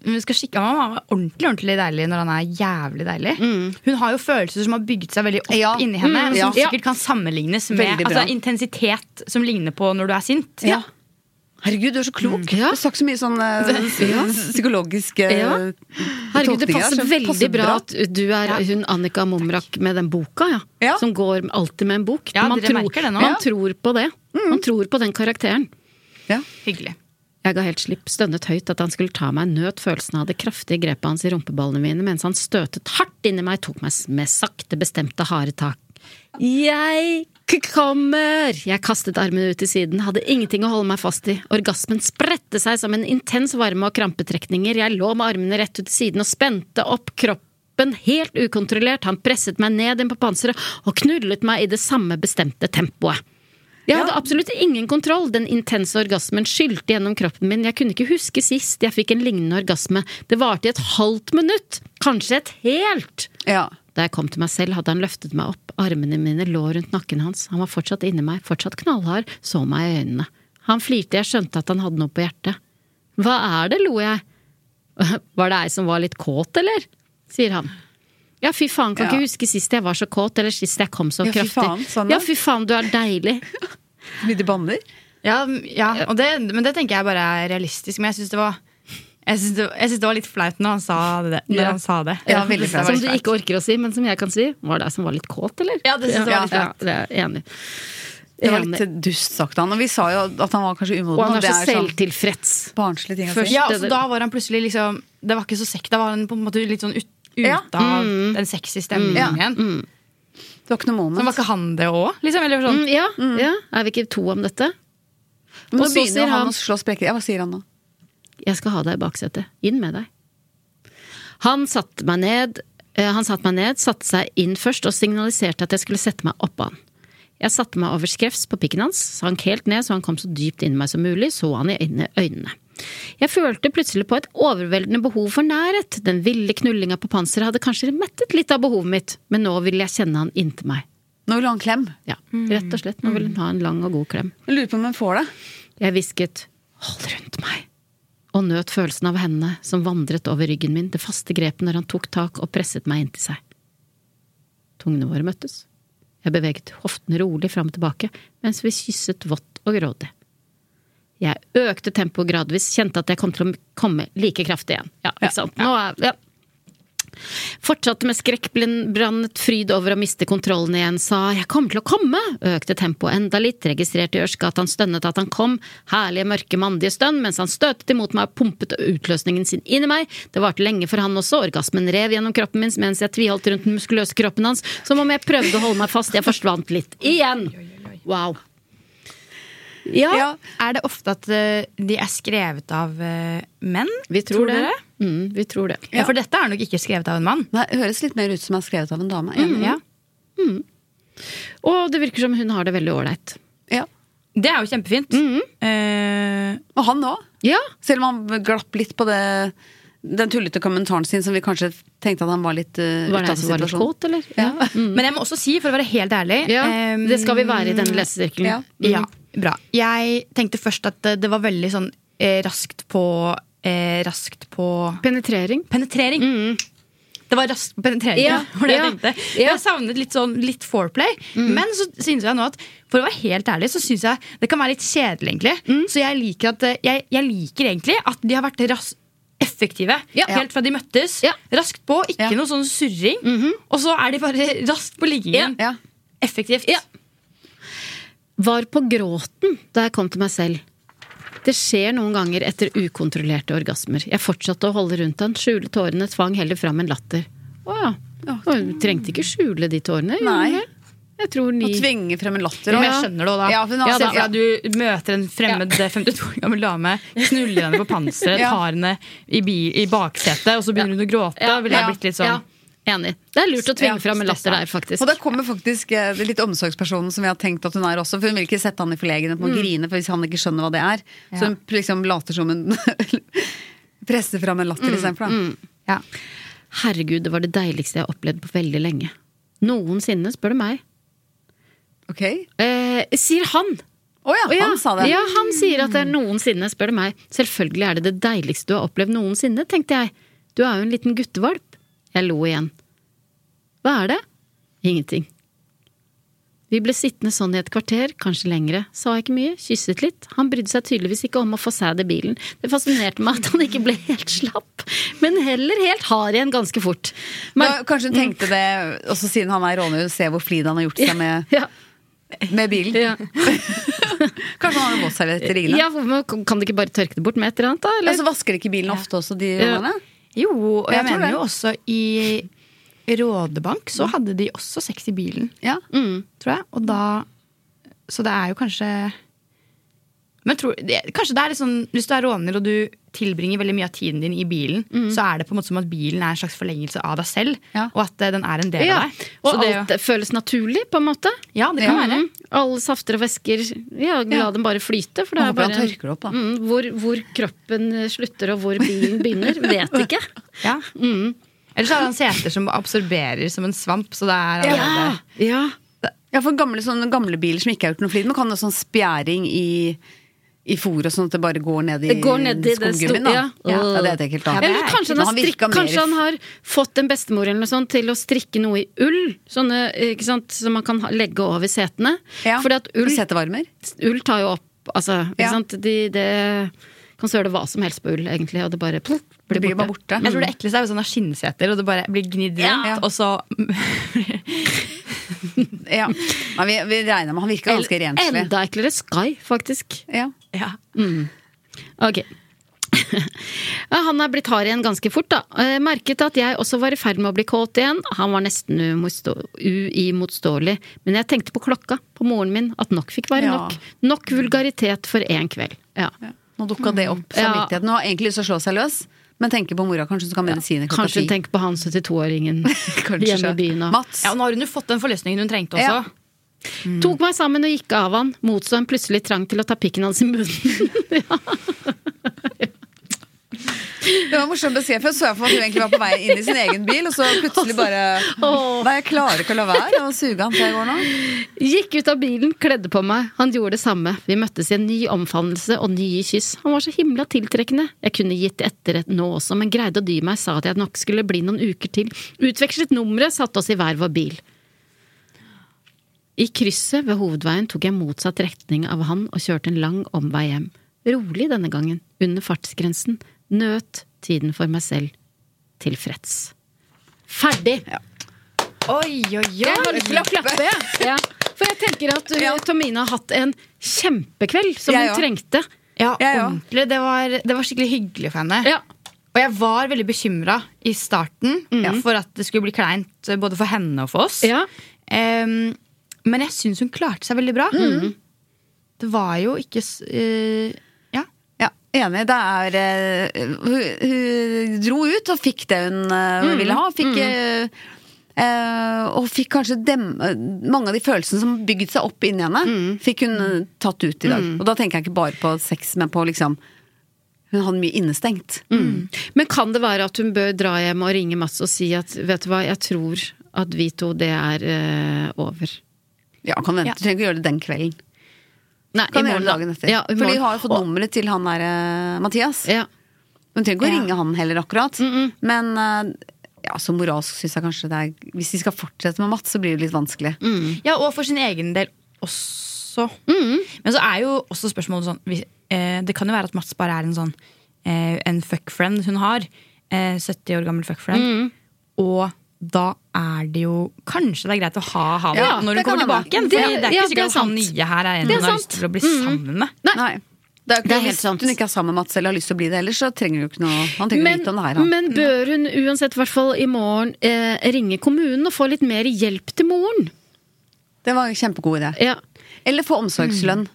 [SPEAKER 5] vi skal skikke, han var ordentlig ordentlig deilig når han er jævlig deilig. Hun har jo følelser som har bygd seg veldig opp
[SPEAKER 1] Ja.
[SPEAKER 5] inni henne,
[SPEAKER 1] Mm,
[SPEAKER 5] og som
[SPEAKER 1] ja.
[SPEAKER 5] sikkert kan sammenlignes med
[SPEAKER 1] Veldig bra.
[SPEAKER 5] altså, intensitet som ligner på når du er sint.
[SPEAKER 1] Ja. Herregud, du er så klok.
[SPEAKER 2] Mm, Ja.
[SPEAKER 1] Du har sagt så mye sånn eh, psykologiske
[SPEAKER 2] Ja. Herregud, det
[SPEAKER 1] tolkninger
[SPEAKER 2] passer
[SPEAKER 1] som
[SPEAKER 2] veldig
[SPEAKER 1] passer
[SPEAKER 2] bra
[SPEAKER 1] bra.
[SPEAKER 2] at du er hun Annika Momrak med den boka, ja.
[SPEAKER 1] Ja.
[SPEAKER 2] Som går alltid med en bok.
[SPEAKER 5] Ja,
[SPEAKER 2] man
[SPEAKER 5] dere
[SPEAKER 2] tror,
[SPEAKER 5] merker det nå. Mm.
[SPEAKER 2] man
[SPEAKER 5] Ja.
[SPEAKER 2] tror på det. Man tror på den karakteren.
[SPEAKER 1] Ja.
[SPEAKER 5] Hyggelig.
[SPEAKER 2] Jeg ga helt slipp, stønnet høyt at han skulle ta meg, nøt følelsen av det kraftige grepet hans i rumpeballene mine mens han støtet hardt inni meg, tok meg s- med sakte, bestemte, harde tak. Jeg k- kommer! Jeg kastet armene ut til siden, hadde ingenting å holde meg fast i. Orgasmen spredte seg som en intens varme og krampetrekninger, jeg lå med armene rett ut til siden og spente opp kroppen helt ukontrollert, han presset meg ned inn på panseret og knullet meg i det samme bestemte tempoet. Jeg hadde absolutt ingen kontroll. Den intense orgasmen skylte gjennom kroppen min. Jeg kunne ikke huske sist jeg fikk en lignende orgasme. Det varte i et halvt minutt. Kanskje et helt.
[SPEAKER 1] Ja.
[SPEAKER 2] Da jeg kom til meg selv, hadde han løftet meg opp. Armene mine lå rundt nakken hans. Han var fortsatt inni meg, fortsatt knallhard, så meg i øynene. Han flirte, jeg skjønte at han hadde noe på hjertet. Hva er det, lo jeg. *laughs* Var det ei som var litt kåt, eller? sier han. Ja, fy faen, kan
[SPEAKER 1] Ja.
[SPEAKER 2] ikke huske sist jeg var så kåt, eller sist jeg kom så
[SPEAKER 1] Ja, fy
[SPEAKER 2] kraftig.
[SPEAKER 1] faen, sånn,
[SPEAKER 2] ja,
[SPEAKER 1] da.
[SPEAKER 2] fy faen, du er deilig.
[SPEAKER 1] Så mye de banner.
[SPEAKER 5] Ja, ja og det, men det tenker jeg bare er realistisk. Men jeg syns det var jeg synes det, jeg synes det var litt flaut når han sa det. Når
[SPEAKER 2] Ja.
[SPEAKER 5] han sa det.
[SPEAKER 1] Ja, veldig
[SPEAKER 5] Det var
[SPEAKER 1] flaut.
[SPEAKER 5] litt
[SPEAKER 2] Som du ikke orker å si, men som jeg kan si. Var det jeg som var litt kåt, eller?
[SPEAKER 5] Ja, det synes jeg var litt
[SPEAKER 2] ja, det er jeg enig. i.
[SPEAKER 1] Det var
[SPEAKER 2] Enig.
[SPEAKER 1] litt dust sagt av han. Og vi sa jo at han var kanskje umoden.
[SPEAKER 2] Og han er
[SPEAKER 1] det
[SPEAKER 2] så
[SPEAKER 1] sånn
[SPEAKER 2] selvtilfreds.
[SPEAKER 1] barnslige ting å
[SPEAKER 2] Først-
[SPEAKER 1] si.
[SPEAKER 5] Ja, altså, da var han plutselig liksom Det var ikke så sekk, da var han på en måte litt sånn ut, ute
[SPEAKER 1] Ja.
[SPEAKER 5] av
[SPEAKER 2] Mm.
[SPEAKER 5] den sexy stemningen
[SPEAKER 1] Ja.
[SPEAKER 5] igjen.
[SPEAKER 1] Det var ikke noe
[SPEAKER 5] Så
[SPEAKER 1] moment.
[SPEAKER 5] var ikke han det òg? Liksom, eller sånn.
[SPEAKER 2] Mm, ja, ja. Er vi ikke to om dette?
[SPEAKER 1] Men
[SPEAKER 2] Og
[SPEAKER 1] nå
[SPEAKER 2] så
[SPEAKER 1] begynner
[SPEAKER 2] sier
[SPEAKER 1] jo han
[SPEAKER 2] han-
[SPEAKER 1] å slå sprekker. Ja, hva sier han nå?
[SPEAKER 2] Jeg skal ha deg i baksetet. Inn med deg. Han satte meg ned, eh, han satte meg ned, satte seg inn først og signaliserte at jeg skulle sette meg oppå han. Jeg satte meg over skrevs på pikken hans, sank helt ned så han kom så dypt inn i meg som mulig, så han i øynene- øynene. Jeg følte plutselig på et overveldende behov for nærhet. Den ville knullinga på panseret hadde kanskje mettet litt av behovet mitt, men nå ville jeg kjenne han inntil meg.
[SPEAKER 1] Nå vil han klem.
[SPEAKER 2] Ja, rett og slett. Nå ville hun ha en lang og god klem.
[SPEAKER 1] Jeg lurer på om hun får det.
[SPEAKER 2] Jeg hvisket 'hold rundt meg' og nøt følelsen av hendene som vandret over ryggen min, det faste grepet når han tok tak og presset meg inntil seg. Tungene våre møttes. Jeg beveget hoftene rolig fram og tilbake mens vi kysset vått og grådig. Jeg økte tempoet gradvis, kjente at jeg kom til å komme like kraftig igjen. Ja, ikke sant? Nå er, ja. Fortsatte med skrekkblandet fryd over å miste kontrollen igjen, sa 'jeg kommer til å komme', økte tempoet enda litt, registrerte i ørska at han stønnet at han kom, herlige, mørke, mandige stønn, mens han støtet imot meg og pumpet utløsningen sin inn i meg. Det varte lenge for han også, orgasmen rev gjennom kroppen min mens jeg tviholdt rundt den muskuløse kroppen hans, som om jeg prøvde å holde meg fast, jeg forsvant litt. Igjen! Wow. Ja,
[SPEAKER 1] Ja.
[SPEAKER 5] Er det ofte at eh, de er skrevet av eh, menn?
[SPEAKER 2] vi tror, det.
[SPEAKER 5] dere?
[SPEAKER 2] Mm, vi tror det.
[SPEAKER 5] Ja. For dette er nok ikke skrevet av en mann.
[SPEAKER 1] Nei, det høres litt mer ut som han er skrevet av en dame.
[SPEAKER 2] Mm.
[SPEAKER 1] Enig.
[SPEAKER 5] Mm, Ja.
[SPEAKER 2] Og det virker som hun har det veldig ålreit.
[SPEAKER 1] Ja.
[SPEAKER 5] Det er jo kjempefint.
[SPEAKER 2] Mm.
[SPEAKER 5] Eh,
[SPEAKER 1] Og han òg.
[SPEAKER 2] Ja,
[SPEAKER 1] Selv om han glapp litt på det, den tullete kommentaren sin som vi kanskje tenkte at han var litt uh,
[SPEAKER 2] var det
[SPEAKER 1] ute
[SPEAKER 2] jeg
[SPEAKER 1] av
[SPEAKER 2] som var litt
[SPEAKER 1] situasjonen.
[SPEAKER 2] kåt, eller? Mm.
[SPEAKER 1] Ja.
[SPEAKER 5] Men jeg må også si, for å være helt ærlig
[SPEAKER 2] Ja,
[SPEAKER 5] eh,
[SPEAKER 2] det skal vi være Mm. i denne lesesirkelen.
[SPEAKER 1] Ja.
[SPEAKER 5] Ja, bra. Jeg tenkte først at det, det var veldig sånn eh, raskt på eh, Raskt på
[SPEAKER 2] Penetrering.
[SPEAKER 5] penetrering. Det var raskt på penetrering.
[SPEAKER 2] Mm. Ja,
[SPEAKER 5] det *laughs* var det
[SPEAKER 2] ja,
[SPEAKER 5] Jeg tenkte.
[SPEAKER 2] ja. Mm.
[SPEAKER 5] Jeg savnet litt sånn litt foreplay. Men så synes jeg nå at for å være helt ærlig, så synes jeg det kan være litt kjedelig, egentlig.
[SPEAKER 2] Mm.
[SPEAKER 5] Så jeg liker, at, eh, jeg, jeg liker egentlig at de har vært ras effektive
[SPEAKER 2] Ja.
[SPEAKER 5] helt fra de møttes.
[SPEAKER 2] Ja. Mhm.
[SPEAKER 5] Raskt på, ikke
[SPEAKER 1] Ja.
[SPEAKER 5] noe sånn surring. Og så er de bare *laughs* raskt på liggingen.
[SPEAKER 1] Ja.
[SPEAKER 5] Effektivt.
[SPEAKER 2] Var på gråten da jeg kom til meg selv. Det skjer noen ganger etter ukontrollerte orgasmer. Jeg fortsatte å holde rundt han, skjule tårene, tvang heller fram en latter. Å ja. Og hun trengte ikke skjule de tårene. gjorde
[SPEAKER 1] Nei.
[SPEAKER 2] hun vel? Jeg tror ni
[SPEAKER 1] Å tvinge frem en latter.
[SPEAKER 5] Ja,
[SPEAKER 1] og-
[SPEAKER 5] men jeg skjønner det også da.
[SPEAKER 1] Ja, for hun har
[SPEAKER 5] Ja,
[SPEAKER 1] sett-
[SPEAKER 5] da. Ja, du møter en fremmed 52 år gammel dame, knuller henne på panseret,
[SPEAKER 1] Ja.
[SPEAKER 5] tar henne i, bi- i baksetet, og så begynner hun å gråte. Da ville
[SPEAKER 1] ja,
[SPEAKER 5] jeg blitt litt sånn
[SPEAKER 2] Ja, enig. Det er lurt å tvinge
[SPEAKER 5] Ja,
[SPEAKER 2] fram en latter der,
[SPEAKER 1] Og
[SPEAKER 2] faktisk.
[SPEAKER 1] da kommer faktisk eh, litt omsorgspersonen som vi har tenkt at hun er også. For hun vil ikke sette *laughs* han i forlegenhet med å grine for hvis han ikke skjønner hva det er. Så hun liksom later som hun Presse fram en latter istedenfor, da.
[SPEAKER 5] Ja.
[SPEAKER 2] Herregud, det var det deiligste jeg har opplevd på veldig lenge. Noensinne, spør du meg.
[SPEAKER 1] Ok.
[SPEAKER 2] Eh, sier han!
[SPEAKER 1] Å ja,
[SPEAKER 2] Å ja,
[SPEAKER 1] han sa det.
[SPEAKER 2] Ja, han sier at det er noensinne, spør du meg. Selvfølgelig er det det deiligste du har opplevd noensinne, tenkte jeg. Du er jo en liten guttevalp. Jeg lo igjen. Hva er det? Ingenting. Vi ble sittende sånn i et kvarter, kanskje lengre. Sa ikke mye, kysset litt. Han brydde seg tydeligvis ikke om å få sæd i bilen. Det fascinerte meg at han ikke ble helt slapp, men heller helt hard igjen ganske fort.
[SPEAKER 1] Da,
[SPEAKER 2] Men-
[SPEAKER 1] kanskje hun tenkte det, også siden han er råner, se hvor flid han har gjort seg med,
[SPEAKER 2] ja,
[SPEAKER 1] med bilen.
[SPEAKER 2] ja.
[SPEAKER 1] *laughs* Kanskje han har en våtservietter i bilen.
[SPEAKER 2] ja, men kan du ikke bare tørke det bort med et eller annet, da?
[SPEAKER 1] Ja,
[SPEAKER 2] Eller?
[SPEAKER 1] så Altså, vasker de ikke bilen ofte også, de
[SPEAKER 2] Ja.
[SPEAKER 1] rånerne?
[SPEAKER 5] Jo, og jeg,
[SPEAKER 1] Jeg tror
[SPEAKER 5] mener
[SPEAKER 1] det.
[SPEAKER 5] jo også i Rådebank så hadde de også sex i bilen,
[SPEAKER 1] Ja.
[SPEAKER 2] Mm.
[SPEAKER 5] tror jeg. Og da Så det er jo kanskje men tror, det, kanskje det er litt sånn, Hvis du er råner og du tilbringer veldig mye av tiden din i bilen, så er det på en måte som at bilen er en slags forlengelse av deg selv.
[SPEAKER 1] Mm. Ja.
[SPEAKER 5] Og at eh, den er en del
[SPEAKER 2] Ja,
[SPEAKER 5] av deg. Så
[SPEAKER 2] og
[SPEAKER 5] det,
[SPEAKER 2] alt føles naturlig, på en måte.
[SPEAKER 5] ja, det kan
[SPEAKER 1] Ja.
[SPEAKER 5] være.
[SPEAKER 2] Mm. Alle safter og væsker, ja, la dem bare flyte. For det
[SPEAKER 1] Man
[SPEAKER 2] er
[SPEAKER 1] håper
[SPEAKER 2] bare
[SPEAKER 1] han tørker det opp, da.
[SPEAKER 2] Mm, hvor, hvor kroppen eh, slutter og hvor bilen begynner, vet ikke.
[SPEAKER 5] Ja. Eller så har han seter som absorberer som en svamp. Så det er allerede-
[SPEAKER 2] Ja.
[SPEAKER 1] Ja, for gamle, sånne gamle biler som ikke har gjort noe flid, men kan ha sånn spjæring i i fôr og sånn at det bare går ned i,
[SPEAKER 2] Det går ned i det
[SPEAKER 1] skumgummien,
[SPEAKER 2] store-
[SPEAKER 1] da.
[SPEAKER 2] ja.
[SPEAKER 1] Ja. ja, det er et ekkelt da.
[SPEAKER 2] Eller kanskje han, har
[SPEAKER 1] virka
[SPEAKER 2] strikk,
[SPEAKER 1] mer-
[SPEAKER 2] kanskje han har fått en bestemor eller noe sånt til å strikke noe i ull, sånne, ikke sant, som man kan ha- legge over setene.
[SPEAKER 1] ja.
[SPEAKER 2] Fordi at ull,
[SPEAKER 1] Setevarmer.
[SPEAKER 2] ull tar jo opp altså, ikke
[SPEAKER 1] Ja.
[SPEAKER 2] sant? De, det kan søle hva som helst på ull, egentlig, og det bare plopp,
[SPEAKER 1] Det
[SPEAKER 2] blir
[SPEAKER 1] blir bare
[SPEAKER 2] borte.
[SPEAKER 1] borte.
[SPEAKER 5] Jeg tror det ekleste er hvis han har skinnseter og det bare blir gnidd rundt.
[SPEAKER 1] Ja.
[SPEAKER 5] Og så
[SPEAKER 1] Ja. Nei, vi, vi regner med han virker Mm. ganske renslig.
[SPEAKER 2] Enda eklere Sky, faktisk.
[SPEAKER 1] Ja.
[SPEAKER 5] ja.
[SPEAKER 2] Ok. *laughs* Ja, Han er blitt hard igjen ganske fort, da. Eh, Merket at jeg også var i ferd med å bli kåt igjen. Han var nesten umotstå- uimotståelig, men jeg tenkte på klokka på moren min at nok fikk være
[SPEAKER 1] Ja.
[SPEAKER 2] nok. Nok vulgaritet for én kveld. Ja.
[SPEAKER 1] Nå dukka det opp,
[SPEAKER 2] Ja.
[SPEAKER 1] samvittigheten. Nå har egentlig lyst til å slå seg løs, men tenker på mora. Kanskje hun skal ha medisiner klokka
[SPEAKER 2] Kanskje
[SPEAKER 1] ti. *laughs*
[SPEAKER 2] tenk på han 72-åringen hjemme i byen. og-
[SPEAKER 1] Mats.
[SPEAKER 5] ja, og nå har hun jo fått den forløsningen hun trengte også.
[SPEAKER 1] Ja.
[SPEAKER 2] Tok meg sammen og gikk av han, motså en plutselig trang til å ta pikken hans i munnen.
[SPEAKER 1] Det var morsomt beskrevet. Jeg så for meg at hun egentlig var på vei inn i sin egen bil, og så plutselig bare *laughs*
[SPEAKER 2] Åh.
[SPEAKER 1] Nei, jeg klarer ikke å la være å suge han før jeg går nå.
[SPEAKER 2] Gikk ut av bilen, kledde på meg. Han gjorde det samme. Vi møttes i en ny omfavnelse og nye kyss. Han var så himla tiltrekkende. Jeg kunne gitt etter et nå også, men greide å dy meg, sa at jeg nok skulle bli noen uker til. Utvekslet nummeret, satte oss i hver vår bil. I krysset ved hovedveien tok jeg motsatt retning av han og kjørte en lang omvei hjem. Rolig denne gangen, under fartsgrensen. Nøt tiden for meg selv. Tilfreds. Ferdig!
[SPEAKER 5] Oi, oi, oi!
[SPEAKER 2] Jeg har lyst til å klappe. jeg. Ja. For jeg tenker at uh,
[SPEAKER 1] Ja.
[SPEAKER 2] Tomine har hatt en kjempekveld som hun
[SPEAKER 1] Jeg også.
[SPEAKER 2] trengte.
[SPEAKER 5] Ja,
[SPEAKER 1] Jeg òg.
[SPEAKER 5] ordentlig. Det var, det var skikkelig hyggelig for henne.
[SPEAKER 2] Ja.
[SPEAKER 5] Og jeg var veldig bekymra i starten for at det skulle bli kleint eh, både for henne og for oss.
[SPEAKER 2] Ja.
[SPEAKER 5] Em, men jeg syns hun klarte seg veldig bra. Det var jo ikke s- eh, Ja.
[SPEAKER 1] Ja, enig. Det er eh, hun, hun dro ut og fikk det hun eh, ville ha. Fikk, eh, eh, og fikk kanskje dem, eh, mange av de følelsene som bygde seg opp inni henne, fikk hun eh, tatt ut i dag. Og da tenker jeg ikke bare på sex, men på liksom Hun hadde mye innestengt.
[SPEAKER 2] Mm. Men kan det være at hun bør dra hjem og ringe Mats og si at vet du hva, jeg tror at vi to, det er eh, over.
[SPEAKER 1] Ja, kan vente. Du trenger ikke gjøre det den kvelden.
[SPEAKER 2] Nei,
[SPEAKER 1] Kan
[SPEAKER 2] i
[SPEAKER 1] gjøre
[SPEAKER 2] morgen,
[SPEAKER 1] det dagen etter.
[SPEAKER 2] Ja, i
[SPEAKER 1] For de
[SPEAKER 2] morgen.
[SPEAKER 1] har jo fått
[SPEAKER 2] Og-
[SPEAKER 1] nummeret til han der eh, Mathias.
[SPEAKER 2] Ja.
[SPEAKER 1] Hun trenger ikke å
[SPEAKER 5] Ja.
[SPEAKER 1] ringe han heller, akkurat. Men eh, ja, så moralsk syns jeg kanskje det er Hvis de skal fortsette med Mats, så blir det litt vanskelig.
[SPEAKER 5] Ja, og for sin egen del også. Men så er jo også spørsmålet sånn hvis- eh, Det kan jo være at Mats bare er en sånn eh, En fuckfriend hun har. Eh, 70 år gammel fuckfriend. Og da er det jo Kanskje det er greit å ha han
[SPEAKER 1] Ja,
[SPEAKER 5] når hun
[SPEAKER 1] det kan
[SPEAKER 5] kommer
[SPEAKER 1] hende.
[SPEAKER 5] tilbake igjen. For
[SPEAKER 2] Det-
[SPEAKER 5] det, det
[SPEAKER 2] ja,
[SPEAKER 5] er ikke
[SPEAKER 2] det er
[SPEAKER 5] sikkert at han
[SPEAKER 2] sant.
[SPEAKER 5] nye her er Mm. en
[SPEAKER 2] Det er
[SPEAKER 5] hun har lyst
[SPEAKER 2] sant.
[SPEAKER 5] til å bli sammen med.
[SPEAKER 2] Nei.
[SPEAKER 1] Det er, jo ikke
[SPEAKER 2] Det er
[SPEAKER 1] noe-
[SPEAKER 2] helt
[SPEAKER 1] hvis
[SPEAKER 2] sant.
[SPEAKER 1] hun ikke er sammen med Mats eller har lyst til å bli det ellers, så trenger hun jo ikke noe Han trenger jo
[SPEAKER 2] Men,
[SPEAKER 1] vite om det her, han.
[SPEAKER 2] men bør hun uansett, i hvert fall i morgen, eh, ringe kommunen og få litt mer hjelp til moren?
[SPEAKER 1] Det var en kjempegod idé.
[SPEAKER 2] Ja.
[SPEAKER 1] Eller få omsorgslønn.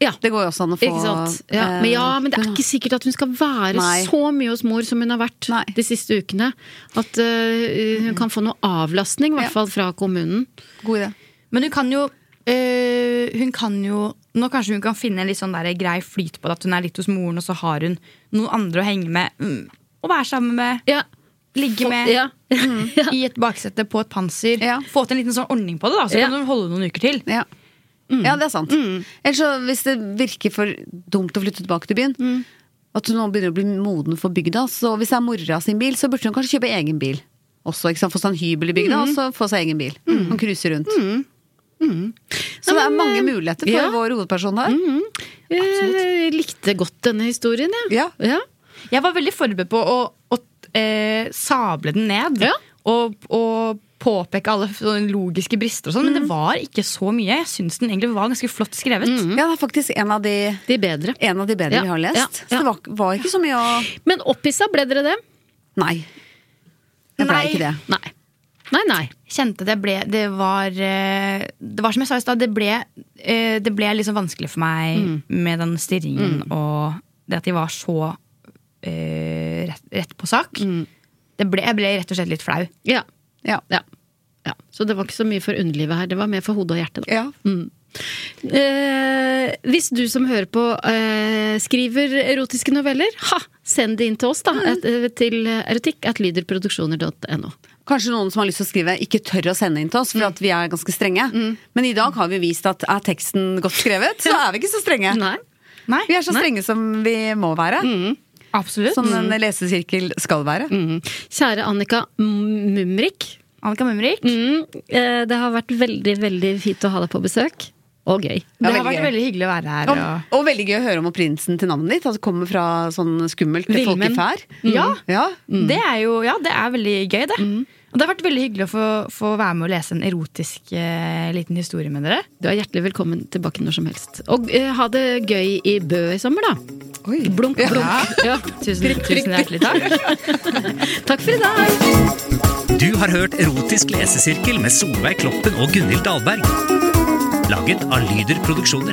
[SPEAKER 2] ja.
[SPEAKER 1] Det går jo også an å få
[SPEAKER 2] Mm. Ikke sant? Ja.
[SPEAKER 1] eh,
[SPEAKER 2] Men, ja, men det er ikke sikkert at hun skal være
[SPEAKER 1] Nei.
[SPEAKER 2] så mye hos mor som hun har vært
[SPEAKER 1] Nei. Mm-hmm.
[SPEAKER 2] de siste ukene. At øh, hun kan få noe avlastning, i
[SPEAKER 1] Ja.
[SPEAKER 2] hvert fall fra kommunen.
[SPEAKER 1] God idé.
[SPEAKER 5] Men hun kan jo eh, hun kan jo Nå kanskje hun kan finne en litt sånn der grei flyt på det, at hun er litt hos moren, og så har hun noen andre å henge med. Mm, å være sammen med.
[SPEAKER 2] Ja.
[SPEAKER 5] Ligge med
[SPEAKER 2] Ja.
[SPEAKER 1] Mm-hmm.
[SPEAKER 2] *laughs* Ja.
[SPEAKER 5] i et baksete på et panser.
[SPEAKER 1] Ja.
[SPEAKER 5] Få til en liten sånn ordning på det, da, så
[SPEAKER 2] Ja.
[SPEAKER 5] kan hun holde noen uker til.
[SPEAKER 1] Ja.
[SPEAKER 2] Mm.
[SPEAKER 1] ja, det er sant. Ellers så, hvis det virker for dumt å flytte tilbake til byen
[SPEAKER 2] Mm.
[SPEAKER 1] At hun nå begynner å bli moden for bygda. Så hvis det er mora sin bil, så burde hun kanskje kjøpe egen bil. Også, ikke sant? Få seg en hybel i bygda,
[SPEAKER 2] Mm.
[SPEAKER 1] og så få seg egen bil. Og cruise rundt. Så det er mange muligheter for
[SPEAKER 2] eh, ja. Mm.
[SPEAKER 1] vår hovedperson her.
[SPEAKER 2] Jeg likte godt denne historien, jeg.
[SPEAKER 1] Ja.
[SPEAKER 2] Ja.
[SPEAKER 5] Jeg var veldig forberedt på å, å eh, sable den ned.
[SPEAKER 2] Ja.
[SPEAKER 5] Og, og påpeke alle sånne logiske brister og sånn,
[SPEAKER 2] Mm.
[SPEAKER 5] men det var ikke så mye. Jeg syns den egentlig var ganske flott skrevet.
[SPEAKER 1] Ja, det er faktisk en av de,
[SPEAKER 2] De bedre.
[SPEAKER 1] en av de bedre
[SPEAKER 2] Ja,
[SPEAKER 1] vi har
[SPEAKER 2] ja,
[SPEAKER 1] lest. Så
[SPEAKER 2] ja.
[SPEAKER 1] det var, var ikke så mye å
[SPEAKER 2] Men opphissa, ble dere det?
[SPEAKER 1] Nei. Jeg ble
[SPEAKER 5] Nei.
[SPEAKER 1] ikke det.
[SPEAKER 2] Nei. Nei, nei.
[SPEAKER 5] Kjente det ble Det var, eh, det var som jeg sa i stad, det ble, eh, det ble liksom vanskelig for meg
[SPEAKER 2] Mm.
[SPEAKER 5] med den stirringen og det at de var så eh, rett, rett på sak.
[SPEAKER 2] Mm.
[SPEAKER 5] Det ble, jeg ble rett og slett litt flau.
[SPEAKER 2] Ja.
[SPEAKER 1] Ja.
[SPEAKER 2] ja. ja. Så det var ikke så mye for underlivet her. Det var mer for hodet og hjertet. da.
[SPEAKER 1] ja.
[SPEAKER 2] Mm. Eh, hvis du som hører på eh, skriver erotiske noveller, ha, send det inn til oss, da. At, eh, til erotikk.lyderproduksjoner.no.
[SPEAKER 1] Kanskje noen som har lyst til å skrive, ikke tør å sende inn til oss, for
[SPEAKER 2] Mm.
[SPEAKER 1] at vi er ganske strenge. Men i dag har vi vist at er teksten godt skrevet, så er vi ikke så strenge.
[SPEAKER 2] Nei.
[SPEAKER 5] Nei,
[SPEAKER 1] Vi er så strenge som vi må være.
[SPEAKER 2] Sånn
[SPEAKER 5] absolutt.
[SPEAKER 1] Som en lesesirkel skal være.
[SPEAKER 2] Mm. Kjære Annika M- Mumrik.
[SPEAKER 5] Annika Mumrik.
[SPEAKER 2] Mm. Eh, det har vært veldig, veldig fint å ha deg på besøk. Og gøy.
[SPEAKER 1] Ja,
[SPEAKER 5] Det har
[SPEAKER 1] veldig
[SPEAKER 5] vært
[SPEAKER 1] gøy.
[SPEAKER 5] veldig hyggelig å være her.
[SPEAKER 1] Og,
[SPEAKER 5] Og
[SPEAKER 1] og veldig gøy å høre om opprinnelsen til navnet ditt. At det kommer fra sånn skummelt
[SPEAKER 2] Vilmen.
[SPEAKER 1] folkefær. Mm.
[SPEAKER 5] Ja.
[SPEAKER 1] ja.
[SPEAKER 5] Det er jo, ja, det er veldig gøy, det.
[SPEAKER 1] Mm.
[SPEAKER 5] Og det har vært veldig hyggelig å få, få være med og lese en erotisk eh, liten historie med dere.
[SPEAKER 2] Du er hjertelig velkommen tilbake når som helst. Og eh, ha det gøy i Bø i sommer, da.
[SPEAKER 1] Oi.
[SPEAKER 2] Blunk, blunk. Ja.
[SPEAKER 5] Tusen, tusen hjertelig takk.
[SPEAKER 2] Takk for i dag!
[SPEAKER 4] Du har hørt Erotisk lesesirkel med Solveig Kloppen og Gunhild Dahlberg. Laget av Lyder Produksjoner.